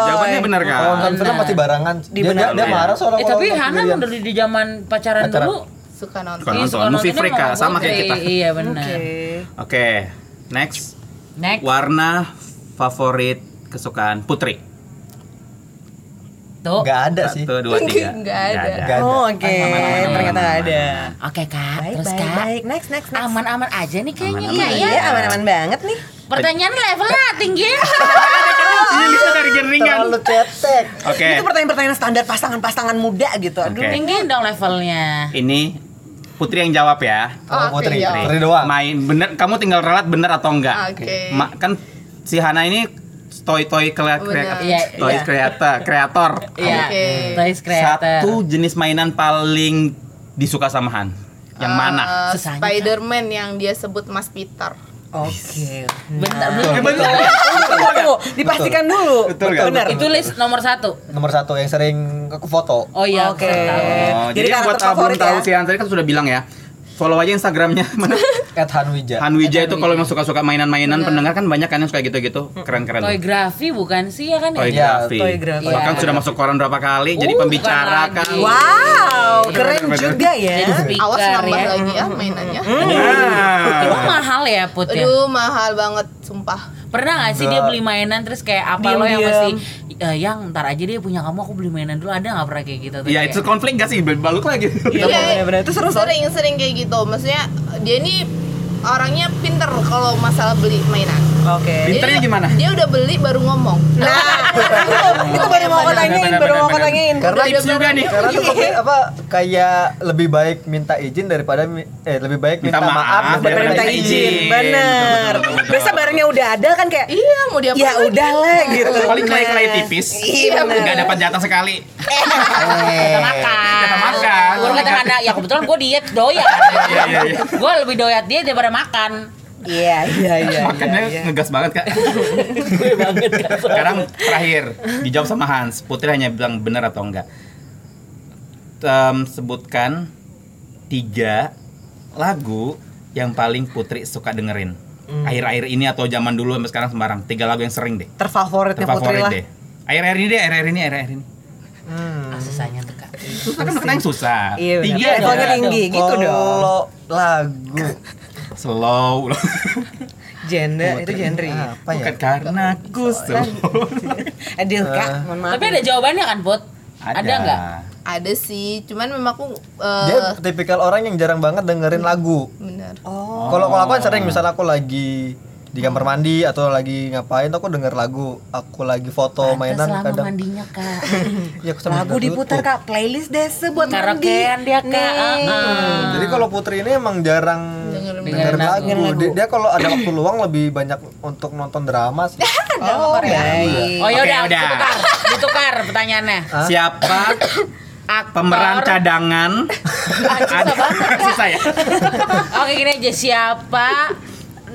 [SPEAKER 1] Jawabannya benar kan?
[SPEAKER 6] Kalau nonton film pasti barengan. Dia, dia, dia
[SPEAKER 1] Dibenerin.
[SPEAKER 6] marah soalnya
[SPEAKER 5] Eh,
[SPEAKER 6] kalau
[SPEAKER 5] tapi
[SPEAKER 6] nonton
[SPEAKER 5] Hana
[SPEAKER 6] sendirian.
[SPEAKER 5] dari di zaman pacaran,
[SPEAKER 6] Pacaran.
[SPEAKER 5] dulu
[SPEAKER 3] Suka
[SPEAKER 1] Suka
[SPEAKER 3] nonton.
[SPEAKER 5] iya,
[SPEAKER 1] nonton.
[SPEAKER 5] suka
[SPEAKER 1] Movie
[SPEAKER 5] nontonnya
[SPEAKER 1] freak, Kak.
[SPEAKER 5] sama
[SPEAKER 1] Sama kayak
[SPEAKER 5] putri.
[SPEAKER 1] kita.
[SPEAKER 5] Iya benar.
[SPEAKER 1] Oke. Next.
[SPEAKER 5] Next.
[SPEAKER 1] Warna favorit kesukaan Putri.
[SPEAKER 5] Tuh.
[SPEAKER 6] Enggak ada Iya sih.
[SPEAKER 1] Satu, dua, tiga.
[SPEAKER 3] Nggak ada.
[SPEAKER 6] Nggak ada.
[SPEAKER 4] Oh, oke.
[SPEAKER 1] aman,
[SPEAKER 4] Ternyata
[SPEAKER 1] aman,
[SPEAKER 4] ada.
[SPEAKER 5] Oke
[SPEAKER 4] Baik,
[SPEAKER 5] kak, Nah, terus
[SPEAKER 4] baik,
[SPEAKER 5] kak
[SPEAKER 4] baik. Next, next, next.
[SPEAKER 5] Aman-aman aja nih kayaknya
[SPEAKER 1] Aman-aman
[SPEAKER 5] kak
[SPEAKER 1] aja.
[SPEAKER 5] ya
[SPEAKER 4] Iya, aman-aman banget nih.
[SPEAKER 5] Pertanyaan levelnya tinggi
[SPEAKER 1] Ini listnya dari Geringan.
[SPEAKER 6] Terlalu cetek.
[SPEAKER 1] Oke.
[SPEAKER 4] Itu pertanyaan-pertanyaan standar pasangan-pasangan muda gitu. Aduh.
[SPEAKER 1] Oke.
[SPEAKER 5] Tinggi dong levelnya
[SPEAKER 1] Ini Putri yang jawab ya.
[SPEAKER 3] Oh, oke,
[SPEAKER 6] Oh, Putri.
[SPEAKER 3] iya.
[SPEAKER 6] Putri doang.
[SPEAKER 1] Main bener kamu tinggal ralat bener atau enggak?
[SPEAKER 3] Oke.
[SPEAKER 1] Ma- kan si Hana ini toy toy kreat
[SPEAKER 3] Bener.
[SPEAKER 5] Iya,
[SPEAKER 1] toy
[SPEAKER 5] iya.
[SPEAKER 1] kreator kreator.
[SPEAKER 5] Iya
[SPEAKER 3] Oke.
[SPEAKER 5] Toys creator
[SPEAKER 1] Satu jenis mainan paling disuka sama Han. Yang mana?
[SPEAKER 3] (laughs) Eh,
[SPEAKER 4] kan?
[SPEAKER 5] Sesanya, Kak.
[SPEAKER 3] Spider-Man yang dia sebut Mas Peter.
[SPEAKER 4] Oke.
[SPEAKER 5] Bentar,
[SPEAKER 4] Nah. (laughs)
[SPEAKER 5] belum
[SPEAKER 1] Eh, bener.
[SPEAKER 4] Tunggu, dipastikan dulu.
[SPEAKER 1] Betul nggak?
[SPEAKER 4] Benar.
[SPEAKER 5] Itu list nomor satu
[SPEAKER 6] Nomor satu yang sering aku foto.
[SPEAKER 5] Oh iya
[SPEAKER 4] Oke.
[SPEAKER 5] aku tahu.
[SPEAKER 1] Oh,
[SPEAKER 4] Jadi
[SPEAKER 1] jadi, yang buat tahu
[SPEAKER 4] karakter
[SPEAKER 1] belum
[SPEAKER 4] favorit
[SPEAKER 1] tahu
[SPEAKER 4] ya?
[SPEAKER 1] si Han tadi kan sudah bilang ya. Follow aja Instagramnya (laughs) mana?
[SPEAKER 6] At Hanwija.
[SPEAKER 1] Han Wijaya itu kalau memang suka-suka mainan-mainan pendengar kan banyak kan yang suka gitu-gitu. Keren-keren.
[SPEAKER 5] Toy ya? grafi bukan sih ya kan
[SPEAKER 1] Toy
[SPEAKER 5] ya?
[SPEAKER 6] Iya,
[SPEAKER 1] Graphy.
[SPEAKER 4] Toy Graphy.
[SPEAKER 1] Bahkan
[SPEAKER 5] Iya.
[SPEAKER 1] sudah masuk koran berapa kali jadi
[SPEAKER 5] Uh,
[SPEAKER 1] pembicara
[SPEAKER 5] bukan
[SPEAKER 1] kan.
[SPEAKER 5] lagi.
[SPEAKER 4] Wow, keren
[SPEAKER 1] Bener, bener,
[SPEAKER 4] juga ya.
[SPEAKER 5] Jadi speaker
[SPEAKER 3] Awas nambah
[SPEAKER 5] ya
[SPEAKER 3] lagi ya mainannya.
[SPEAKER 4] Hmm.
[SPEAKER 5] Emang
[SPEAKER 1] Nah.
[SPEAKER 5] mahal ya Put ya?
[SPEAKER 3] Aduh, mahal banget sumpah.
[SPEAKER 5] Pernah gak sih dia beli mainan terus kayak apa lo yang
[SPEAKER 4] Diem-diem.
[SPEAKER 5] mesti "Eh, Yang ntar aja deh punya kamu aku beli mainan dulu ada gak pernah kayak gitu tuh
[SPEAKER 1] Iya,
[SPEAKER 5] kayak?
[SPEAKER 1] itu konflik gak sih? Balik lagi.
[SPEAKER 4] Iya, benar-benar. Itu seru, Sob.
[SPEAKER 3] Sering-sering kayak gitu. Maksudnya dia ini orangnya pinter kalau masalah beli mainan.
[SPEAKER 4] Oke.
[SPEAKER 1] Pinternya
[SPEAKER 3] Jadi,
[SPEAKER 1] gimana?
[SPEAKER 3] Dia udah beli baru ngomong.
[SPEAKER 4] Nah, itu baru mau aku tanyain, baru mau aku tanyain.
[SPEAKER 1] Karena tips juga nih.
[SPEAKER 6] Karena tuh pokoknya apa kayak lebih baik minta izin daripada mi- eh lebih baik minta, maaf,
[SPEAKER 1] daripada
[SPEAKER 4] Daripada minta izin, bener.
[SPEAKER 1] Betul, betul, betul, betul.
[SPEAKER 4] Biasa barangnya udah ada kan kayak
[SPEAKER 3] Iya, mau dia
[SPEAKER 4] ya udah lah gitu.
[SPEAKER 1] Iya, Paling kelai-kelai
[SPEAKER 4] Bener.
[SPEAKER 1] tipis.
[SPEAKER 4] Iya, bener.
[SPEAKER 1] Nggak dapat jatah sekali.
[SPEAKER 5] Kata
[SPEAKER 6] Iya.
[SPEAKER 5] makan
[SPEAKER 1] Kata makan.
[SPEAKER 5] Baru kata Hana, ya kebetulan gue diet doyat
[SPEAKER 1] (laughs) Iya, iya, iya.
[SPEAKER 5] Gue lebih doyat dia daripada makan
[SPEAKER 4] Iya, iya,
[SPEAKER 1] (laughs)
[SPEAKER 4] iya.
[SPEAKER 1] Makannya
[SPEAKER 4] iya, iya.
[SPEAKER 1] ngegas banget, Kak. Sekarang terakhir dijawab sama Hans. Putri hanya bilang benar atau enggak. Em, sebutkan tiga lagu yang paling Putri suka dengerin.
[SPEAKER 4] Hmm.
[SPEAKER 1] Akhir-akhir ini atau zaman dulu sampai sekarang sembarang. Tiga lagu yang sering deh.
[SPEAKER 4] Terfavoritnya Putri
[SPEAKER 1] Terfavorit
[SPEAKER 4] lah.
[SPEAKER 1] deh. Akhir-akhir ini deh, akhir-akhir ini, akhir-akhir ini.
[SPEAKER 6] Hmm.
[SPEAKER 5] Ah, Susahnya tuh kak
[SPEAKER 1] Susah kan makan yang susah.
[SPEAKER 4] Iya, benar.
[SPEAKER 1] Tiga
[SPEAKER 4] Levelnya
[SPEAKER 1] dong.
[SPEAKER 4] tinggi gitu dong.
[SPEAKER 6] Kalau lagu
[SPEAKER 4] (laughs)
[SPEAKER 1] Slow.
[SPEAKER 4] Gender iya. itu
[SPEAKER 6] Putri,
[SPEAKER 4] genre.
[SPEAKER 6] Apa ya?
[SPEAKER 1] Bukan karena aku slow.
[SPEAKER 4] Aduh, Kak,
[SPEAKER 1] Ah.
[SPEAKER 4] mohon maaf.
[SPEAKER 5] Tapi ada jawabannya kan Put? Ada nggak?
[SPEAKER 3] Ada sih, cuman memang aku
[SPEAKER 6] Dia
[SPEAKER 3] eh
[SPEAKER 6] tipikal orang yang jarang banget dengerin lagu.
[SPEAKER 3] bener.
[SPEAKER 4] Oh,
[SPEAKER 6] Kalau kalau aku kan sering misalnya aku lagi di kamar mandi atau lagi ngapain tuh aku denger lagu. Aku lagi foto mainan
[SPEAKER 5] Selama
[SPEAKER 6] kadang.
[SPEAKER 5] mandinya kak
[SPEAKER 6] Ya, aku sambil
[SPEAKER 4] lagu
[SPEAKER 6] buka
[SPEAKER 4] diputar
[SPEAKER 6] YouTube.
[SPEAKER 4] Kak, playlist deh buat mandi.
[SPEAKER 5] Karaokean dia kak
[SPEAKER 4] Nih.
[SPEAKER 5] Ah.
[SPEAKER 6] Jadi kalau Putri ini emang jarang
[SPEAKER 3] Dengerin
[SPEAKER 6] dengerin
[SPEAKER 5] lagu.
[SPEAKER 6] lagu. Dia, dia kalau ada waktu luang lebih banyak untuk nonton drama
[SPEAKER 4] (laughs)
[SPEAKER 6] sih.
[SPEAKER 1] Ah.
[SPEAKER 4] Oh, baik.
[SPEAKER 5] Oh yaudah,
[SPEAKER 1] (laughs) Oke, udah.
[SPEAKER 5] ditukar, ditukar pertanyaannya (laughs)
[SPEAKER 1] Siapa
[SPEAKER 5] Aktor
[SPEAKER 1] pemeran cadangan? Ada susah ya.
[SPEAKER 5] (laughs) Oke gini aja, siapa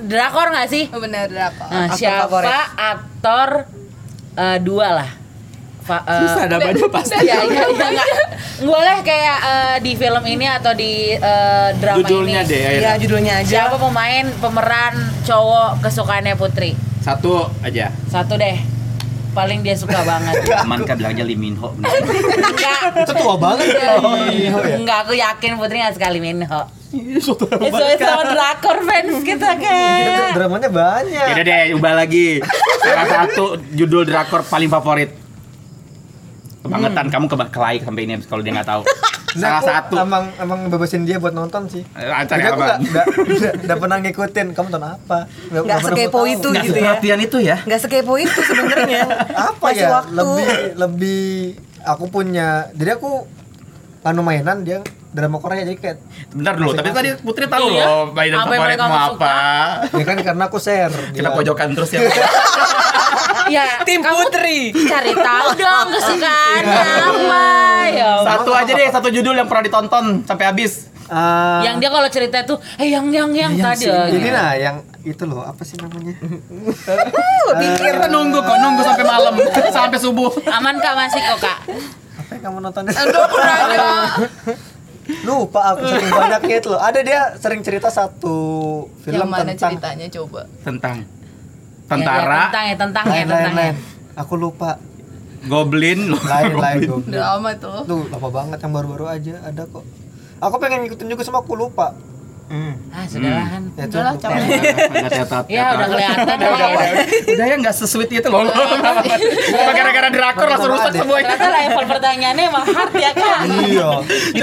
[SPEAKER 5] Drakor nggak sih?
[SPEAKER 4] Oh,
[SPEAKER 3] Bener apa?
[SPEAKER 5] Nah,
[SPEAKER 4] Aktor
[SPEAKER 5] siapa
[SPEAKER 4] favorit.
[SPEAKER 5] aktor eh, dua lah? Fa- eh,
[SPEAKER 1] Susah namanya pasti.
[SPEAKER 5] (laughs) Iya, iya, iya, nggak. Boleh kayak eh, di film ini atau di eh, drama
[SPEAKER 1] Judulnya
[SPEAKER 5] ini. Nah,
[SPEAKER 1] deh.
[SPEAKER 4] Iya,
[SPEAKER 1] akhirnya.
[SPEAKER 4] judulnya aja.
[SPEAKER 5] Siapa pemain pemeran cowok kesukaannya Putri?
[SPEAKER 1] Satu aja.
[SPEAKER 5] Satu deh. paling dia suka banget
[SPEAKER 1] Aman kah bilang aja Lee Min
[SPEAKER 5] (laughs)
[SPEAKER 1] Ho. bener.
[SPEAKER 5] enggak
[SPEAKER 6] Itu tua banget ya.
[SPEAKER 4] Iya,
[SPEAKER 5] enggak aku yakin Putri nggak sekali Minho
[SPEAKER 1] Oh,
[SPEAKER 5] itu sama drakor fans kita kan
[SPEAKER 6] Dramanya banyak.
[SPEAKER 1] Yaudah deh, ubah lagi. Salah satu judul drakor paling favorit. Kebangetan kamu ke kelai sampai ini kalau dia nggak tahu.
[SPEAKER 6] Nah,
[SPEAKER 1] Salah
[SPEAKER 6] aku
[SPEAKER 1] satu.
[SPEAKER 6] Emang emang bebasin dia buat nonton sih.
[SPEAKER 1] Eh, Ancar
[SPEAKER 6] Jadi
[SPEAKER 1] ya,
[SPEAKER 6] aku
[SPEAKER 1] Bang.
[SPEAKER 6] nggak nggak- nggak pernah ngikutin. Kamu nonton apa? Nggak
[SPEAKER 4] Nggak
[SPEAKER 6] pernah mau
[SPEAKER 4] sekepo
[SPEAKER 6] tahu.
[SPEAKER 4] itu
[SPEAKER 1] Nggak
[SPEAKER 4] gitu ya.
[SPEAKER 1] sepertian itu ya.
[SPEAKER 4] Nggak sekepo itu (laughs) sebenarnya.
[SPEAKER 6] Apa
[SPEAKER 4] Masih
[SPEAKER 6] ya?
[SPEAKER 4] waktu.
[SPEAKER 6] Lebih lebih aku punya. Jadi aku anu mainan dia drama Korea jadi kayak
[SPEAKER 1] Bentar dulu, tapi tadi Putri tahu
[SPEAKER 5] Iya.
[SPEAKER 1] loh mainan
[SPEAKER 5] Apa yang
[SPEAKER 1] favorit
[SPEAKER 5] kamu
[SPEAKER 1] mau
[SPEAKER 5] suka?
[SPEAKER 1] apa.
[SPEAKER 6] ya kan karena aku
[SPEAKER 1] (laughs)
[SPEAKER 6] share.
[SPEAKER 1] Kita
[SPEAKER 6] dia.
[SPEAKER 1] pojokan terus ya.
[SPEAKER 5] ya
[SPEAKER 4] Tim Putri.
[SPEAKER 5] cari tahu dong kesukaannya apa ya
[SPEAKER 1] Satu aja deh, satu judul yang pernah ditonton sampai habis.
[SPEAKER 6] Ah, iya
[SPEAKER 5] yang dia kalau cerita tuh eh yang yang yang, tadi oh, gitu.
[SPEAKER 6] ini nah yang itu loh apa sih namanya?
[SPEAKER 1] Pikir Eh, nunggu kok, nunggu sampai malam, (laughs) sampai subuh.
[SPEAKER 5] aman kak masih kok kak
[SPEAKER 6] apa yang kamu nonton? (laughs) Lupa aku saking banyaknya itu loh. Ada dia sering cerita satu film
[SPEAKER 3] yang mana
[SPEAKER 6] tentang
[SPEAKER 3] ceritanya coba
[SPEAKER 1] Tentang
[SPEAKER 5] ya, ya,
[SPEAKER 1] tentara,
[SPEAKER 5] tentang ya tentang ya
[SPEAKER 6] lain lain
[SPEAKER 5] tentang ya
[SPEAKER 6] lain. Aku
[SPEAKER 5] (laughs)
[SPEAKER 6] lupa
[SPEAKER 5] Iya,
[SPEAKER 1] goblin,
[SPEAKER 6] (laughs) lain lain
[SPEAKER 1] goblin.
[SPEAKER 6] goblin.
[SPEAKER 3] drama tuh
[SPEAKER 6] Tuh lama banget yang baru-baru aja ada kok. Aku pengen ngikutin juga sama aku lupa. Hmm.
[SPEAKER 5] ah sudahlah kan
[SPEAKER 6] Ya, itu
[SPEAKER 3] Udahlah,
[SPEAKER 6] lupa.
[SPEAKER 3] capek.
[SPEAKER 1] Nggak teater,
[SPEAKER 5] ya
[SPEAKER 1] teater.
[SPEAKER 5] udah kelihatan lah ya.
[SPEAKER 1] Udah ya nggak sesulit itu loh. Cuma gara-gara drakor langsung rusak semuanya.
[SPEAKER 5] ternyata level pertanyaannya emang hard ya kak
[SPEAKER 6] Iya.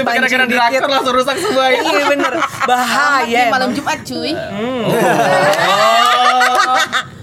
[SPEAKER 1] Cuma gara-gara drakor langsung rusak semuanya.
[SPEAKER 4] Iya bener. Bahaya.
[SPEAKER 3] Di malam
[SPEAKER 4] Iya, emang.
[SPEAKER 3] Jumat cuy
[SPEAKER 1] Oh.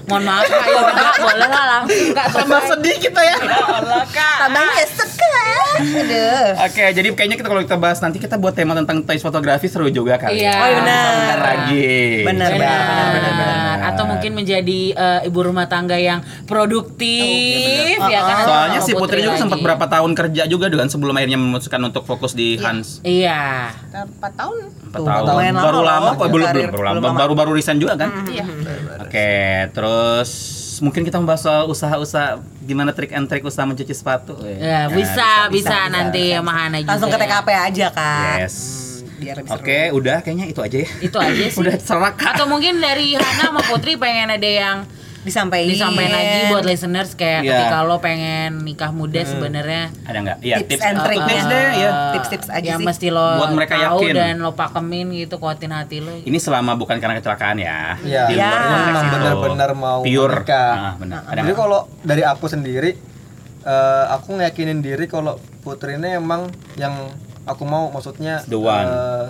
[SPEAKER 5] mohon maaf kak ya udah kak boleh lah langsung kak
[SPEAKER 1] Tambah sedih kita ya.
[SPEAKER 5] Allah kak
[SPEAKER 4] Tambahnya ya, sekat. Aduh.
[SPEAKER 1] Oke, jadi kayaknya kita kalau kita bahas nanti kita buat tema tentang toys fotografi seru juga kali.
[SPEAKER 5] Iya.
[SPEAKER 4] Oh, benar.
[SPEAKER 1] Bentar lagi.
[SPEAKER 4] Benar,
[SPEAKER 5] Benar.
[SPEAKER 4] benar,
[SPEAKER 5] Atau mungkin menjadi eh, ibu rumah tangga yang produktif, ya
[SPEAKER 4] Oh,
[SPEAKER 5] kan? Atau
[SPEAKER 1] Soalnya
[SPEAKER 5] sama
[SPEAKER 1] si Putri juga
[SPEAKER 5] lagi.
[SPEAKER 1] sempat berapa tahun kerja juga dengan sebelum akhirnya memutuskan untuk fokus di Hans.
[SPEAKER 5] Iya.
[SPEAKER 3] empat tahun
[SPEAKER 1] Empat
[SPEAKER 4] Tuh,
[SPEAKER 1] tahun.
[SPEAKER 4] lumayan lama
[SPEAKER 1] Baru
[SPEAKER 4] loh.
[SPEAKER 1] lama kok belum
[SPEAKER 4] Karir,
[SPEAKER 1] belum baru lama.
[SPEAKER 4] belum lama.
[SPEAKER 1] Baru-baru resign juga kan?
[SPEAKER 3] iya
[SPEAKER 1] Oke, terus mungkin kita membahas soal usaha-usaha gimana trik and trik usaha mencuci sepatu.
[SPEAKER 5] Ya,
[SPEAKER 1] Ya,
[SPEAKER 5] bisa, bisa, nanti sama Hana juga. ya.
[SPEAKER 4] Langsung ke TKP aja kak.
[SPEAKER 1] Yes.
[SPEAKER 4] Biar lebih seru.
[SPEAKER 1] Oke, udah kayaknya itu aja ya.
[SPEAKER 5] Itu aja
[SPEAKER 4] Iya
[SPEAKER 1] (laughs)
[SPEAKER 5] sih.
[SPEAKER 1] Udah serak.
[SPEAKER 5] Atau mungkin dari Hana sama Putri pengen ada yang
[SPEAKER 4] Disampaikan.
[SPEAKER 5] disampaikan lagi buat listeners
[SPEAKER 1] Iya.
[SPEAKER 5] kayak
[SPEAKER 1] Hmm.
[SPEAKER 5] ketika lo pengen nikah muda sebenarnya
[SPEAKER 1] Ada nggak? Iya,
[SPEAKER 4] Tips and trick
[SPEAKER 1] tips
[SPEAKER 4] ya.
[SPEAKER 1] deh ya.
[SPEAKER 5] eh,
[SPEAKER 4] Tips-tips aja
[SPEAKER 5] yang
[SPEAKER 4] sih.
[SPEAKER 5] mesti lo
[SPEAKER 1] Buat mereka
[SPEAKER 5] tahu
[SPEAKER 1] yakin. Iya.
[SPEAKER 5] dan lo pakemin gitu kuatin hati lo
[SPEAKER 1] Ini selama bukan karena kecelakaan ya.
[SPEAKER 6] Iya.
[SPEAKER 1] Di
[SPEAKER 4] Iya. Nah,
[SPEAKER 1] luar konteks
[SPEAKER 6] Memang
[SPEAKER 1] itu.
[SPEAKER 6] benar-benar mau
[SPEAKER 1] pure.
[SPEAKER 6] menikah. Nah,
[SPEAKER 1] Ah, benar. Ada
[SPEAKER 6] Jadi
[SPEAKER 1] nggak?
[SPEAKER 6] kalau dari aku sendiri eh, aku ngeyakinin diri kalau Putri ini emang yang aku mau maksudnya
[SPEAKER 1] The one.
[SPEAKER 6] eh,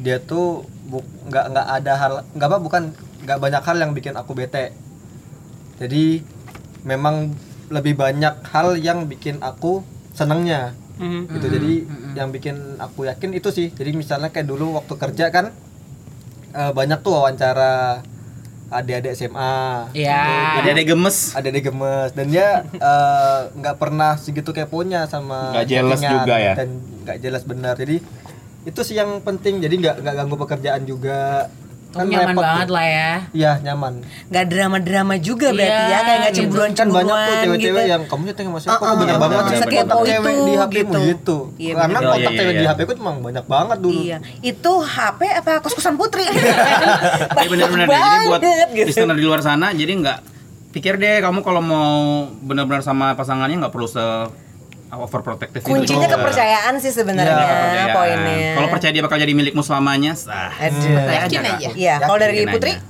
[SPEAKER 6] dia tuh bu- nggak nggak ada hal nggak apa bukan nggak banyak hal yang bikin aku bete. Jadi memang lebih banyak hal yang bikin aku senangnya gitu jadi yang bikin aku yakin itu sih jadi misalnya kayak dulu waktu kerja kan eh, banyak tuh wawancara adik-adik SMA
[SPEAKER 5] Iya.
[SPEAKER 1] Jadi ada gemes.
[SPEAKER 6] ada di gemes dan dia eh, nggak pernah segitu keponya sama
[SPEAKER 1] Nggak jealous
[SPEAKER 6] chattingan
[SPEAKER 1] juga ya?
[SPEAKER 6] dan nggak jelas benar jadi itu sih yang penting jadi nggak nggak ganggu pekerjaan juga
[SPEAKER 4] Kan
[SPEAKER 5] Kamu
[SPEAKER 6] Kan
[SPEAKER 5] nyaman
[SPEAKER 6] repot tuh.
[SPEAKER 5] banget lah ya
[SPEAKER 6] iya nyaman
[SPEAKER 4] Gak drama-drama juga berarti
[SPEAKER 5] Iya,
[SPEAKER 4] ya Kayak gak
[SPEAKER 5] gitu.
[SPEAKER 4] cemburuan
[SPEAKER 6] kan banyak tuh
[SPEAKER 4] cemburuan gitu
[SPEAKER 6] cewek-cewek yang kamu nyeting masih aku tuh
[SPEAKER 4] Uh-uh.
[SPEAKER 6] banyak banget
[SPEAKER 1] Bener-bener.
[SPEAKER 6] kontak
[SPEAKER 1] Sekepo
[SPEAKER 6] cewek
[SPEAKER 4] itu,
[SPEAKER 6] di HP-mu
[SPEAKER 4] gitu.
[SPEAKER 6] gitu
[SPEAKER 4] Iya,
[SPEAKER 6] karena
[SPEAKER 1] bener.
[SPEAKER 6] kontak
[SPEAKER 1] Iya,
[SPEAKER 6] cewek
[SPEAKER 1] iya,
[SPEAKER 6] di
[SPEAKER 1] iya.
[SPEAKER 6] HP-ku emang banyak banget dulu
[SPEAKER 4] Iya Itu HP apa kos-kosan putri (laughs)
[SPEAKER 1] Iya benar-benar deh. Jadi buat
[SPEAKER 4] Banget gitu.
[SPEAKER 1] listener di luar sana, jadi nggak pikir deh kamu kalau mau benar-benar sama pasangannya nggak perlu se overprotective itu.
[SPEAKER 4] Kuncinya kepercayaan sih
[SPEAKER 1] Iya,
[SPEAKER 4] sebenarnya
[SPEAKER 1] kepercayaan.
[SPEAKER 4] Poinnya
[SPEAKER 1] Kalau percaya dia bakal jadi milikmu selamanya, sah.
[SPEAKER 4] Aduh.
[SPEAKER 3] Yakin
[SPEAKER 1] Kak.
[SPEAKER 3] aja.
[SPEAKER 4] Iya Kalau dari
[SPEAKER 1] Yakin
[SPEAKER 4] putri
[SPEAKER 1] aja.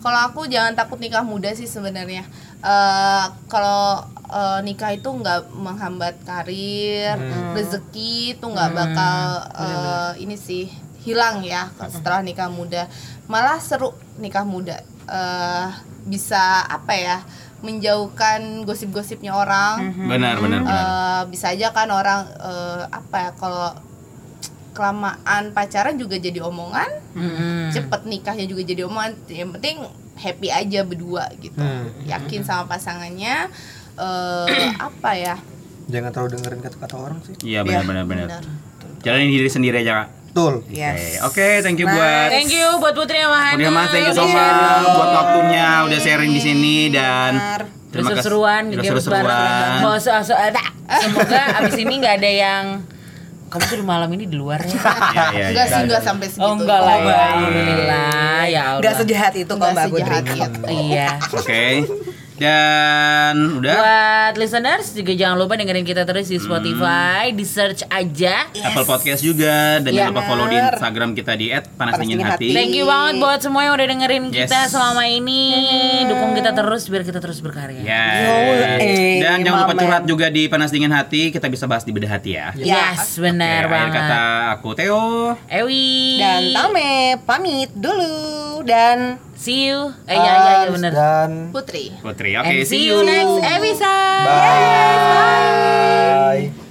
[SPEAKER 3] Kalau aku jangan takut nikah muda sih sebenarnya. Eh kalau eh, nikah itu nggak menghambat karir, rezeki itu nggak bakal eh, ini sih hilang ya setelah nikah muda. Malah seru nikah muda. eh bisa apa ya? Menjauhkan gosip-gosipnya orang.
[SPEAKER 1] Benar, benar, benar.
[SPEAKER 3] Eh, bisa aja kan orang eh, apa ya kalau kelamaan pacaran juga jadi omongan
[SPEAKER 1] Hmm.
[SPEAKER 5] Mm-mm.
[SPEAKER 3] cepet nikahnya juga jadi omongan yang penting happy aja berdua gitu
[SPEAKER 1] Hmm.
[SPEAKER 3] yakin sama pasangannya
[SPEAKER 1] (clears throat)
[SPEAKER 3] eh apa ya
[SPEAKER 6] jangan terlalu dengerin kata-kata orang sih
[SPEAKER 1] Iya, benar, benar, benar.
[SPEAKER 3] benar
[SPEAKER 1] Jalanin diri sendiri aja, Kak.
[SPEAKER 6] betul
[SPEAKER 4] Yes.
[SPEAKER 1] Oke, Oke, thank you buat
[SPEAKER 5] Thank you buat Putri sama Hana. Iya.
[SPEAKER 1] Udah mas, thank you so
[SPEAKER 5] Udah
[SPEAKER 1] much
[SPEAKER 5] sharing.
[SPEAKER 1] buat waktunya, udah sharing di sini dan
[SPEAKER 5] Udah
[SPEAKER 1] terima kasih-
[SPEAKER 5] seru-seruan,
[SPEAKER 1] udah
[SPEAKER 5] gitu ya,
[SPEAKER 1] seru-seruan.
[SPEAKER 5] bareng-bareng. Mau so- so- ada. Semoga abis ini nggak ada yang kamu tuh malam ini di
[SPEAKER 4] (laughs)
[SPEAKER 5] luar ya.
[SPEAKER 4] Gitu.
[SPEAKER 1] Iya, iya, iya.
[SPEAKER 3] enggak sih enggak sampai segitu
[SPEAKER 5] Oh enggak lah ya.
[SPEAKER 4] baik.
[SPEAKER 5] Alhamdulillah ya Allah.
[SPEAKER 4] Gak sejahat itu kok
[SPEAKER 3] Enggak
[SPEAKER 4] Mbak Putri
[SPEAKER 3] sejahat itu.
[SPEAKER 5] Iya.
[SPEAKER 1] Oke. Dan udah
[SPEAKER 5] Buat listeners juga jangan lupa dengerin kita terus di Spotify,
[SPEAKER 1] Hmm.
[SPEAKER 5] di search aja.
[SPEAKER 1] Apple Podcast juga dan jangan
[SPEAKER 4] Iya.
[SPEAKER 1] lupa follow di Instagram kita di @panasdinginhati.
[SPEAKER 4] Panas dingin hati.
[SPEAKER 5] Thank you banget buat semua yang udah dengerin
[SPEAKER 1] Yes.
[SPEAKER 5] kita selama ini. Dukung kita terus biar kita terus berkarya.
[SPEAKER 1] Yes.
[SPEAKER 4] eh,
[SPEAKER 1] Dan jangan lupa
[SPEAKER 4] mamen.
[SPEAKER 1] curhat juga di Panas Dingin Hati, kita bisa bahas di beda hati ya.
[SPEAKER 5] Yes,
[SPEAKER 1] Ya,
[SPEAKER 5] benar
[SPEAKER 1] akhir
[SPEAKER 5] banget.
[SPEAKER 1] kata aku Theo.
[SPEAKER 5] Ewi.
[SPEAKER 4] Dan Tame pamit dulu dan
[SPEAKER 5] See you.
[SPEAKER 4] Iya,
[SPEAKER 5] Eh, ya, ya, ya, benar.
[SPEAKER 6] Dan
[SPEAKER 3] Putri
[SPEAKER 1] Putri. Oke,
[SPEAKER 5] And
[SPEAKER 1] see
[SPEAKER 5] see
[SPEAKER 1] you.
[SPEAKER 5] you next episode.
[SPEAKER 6] bye.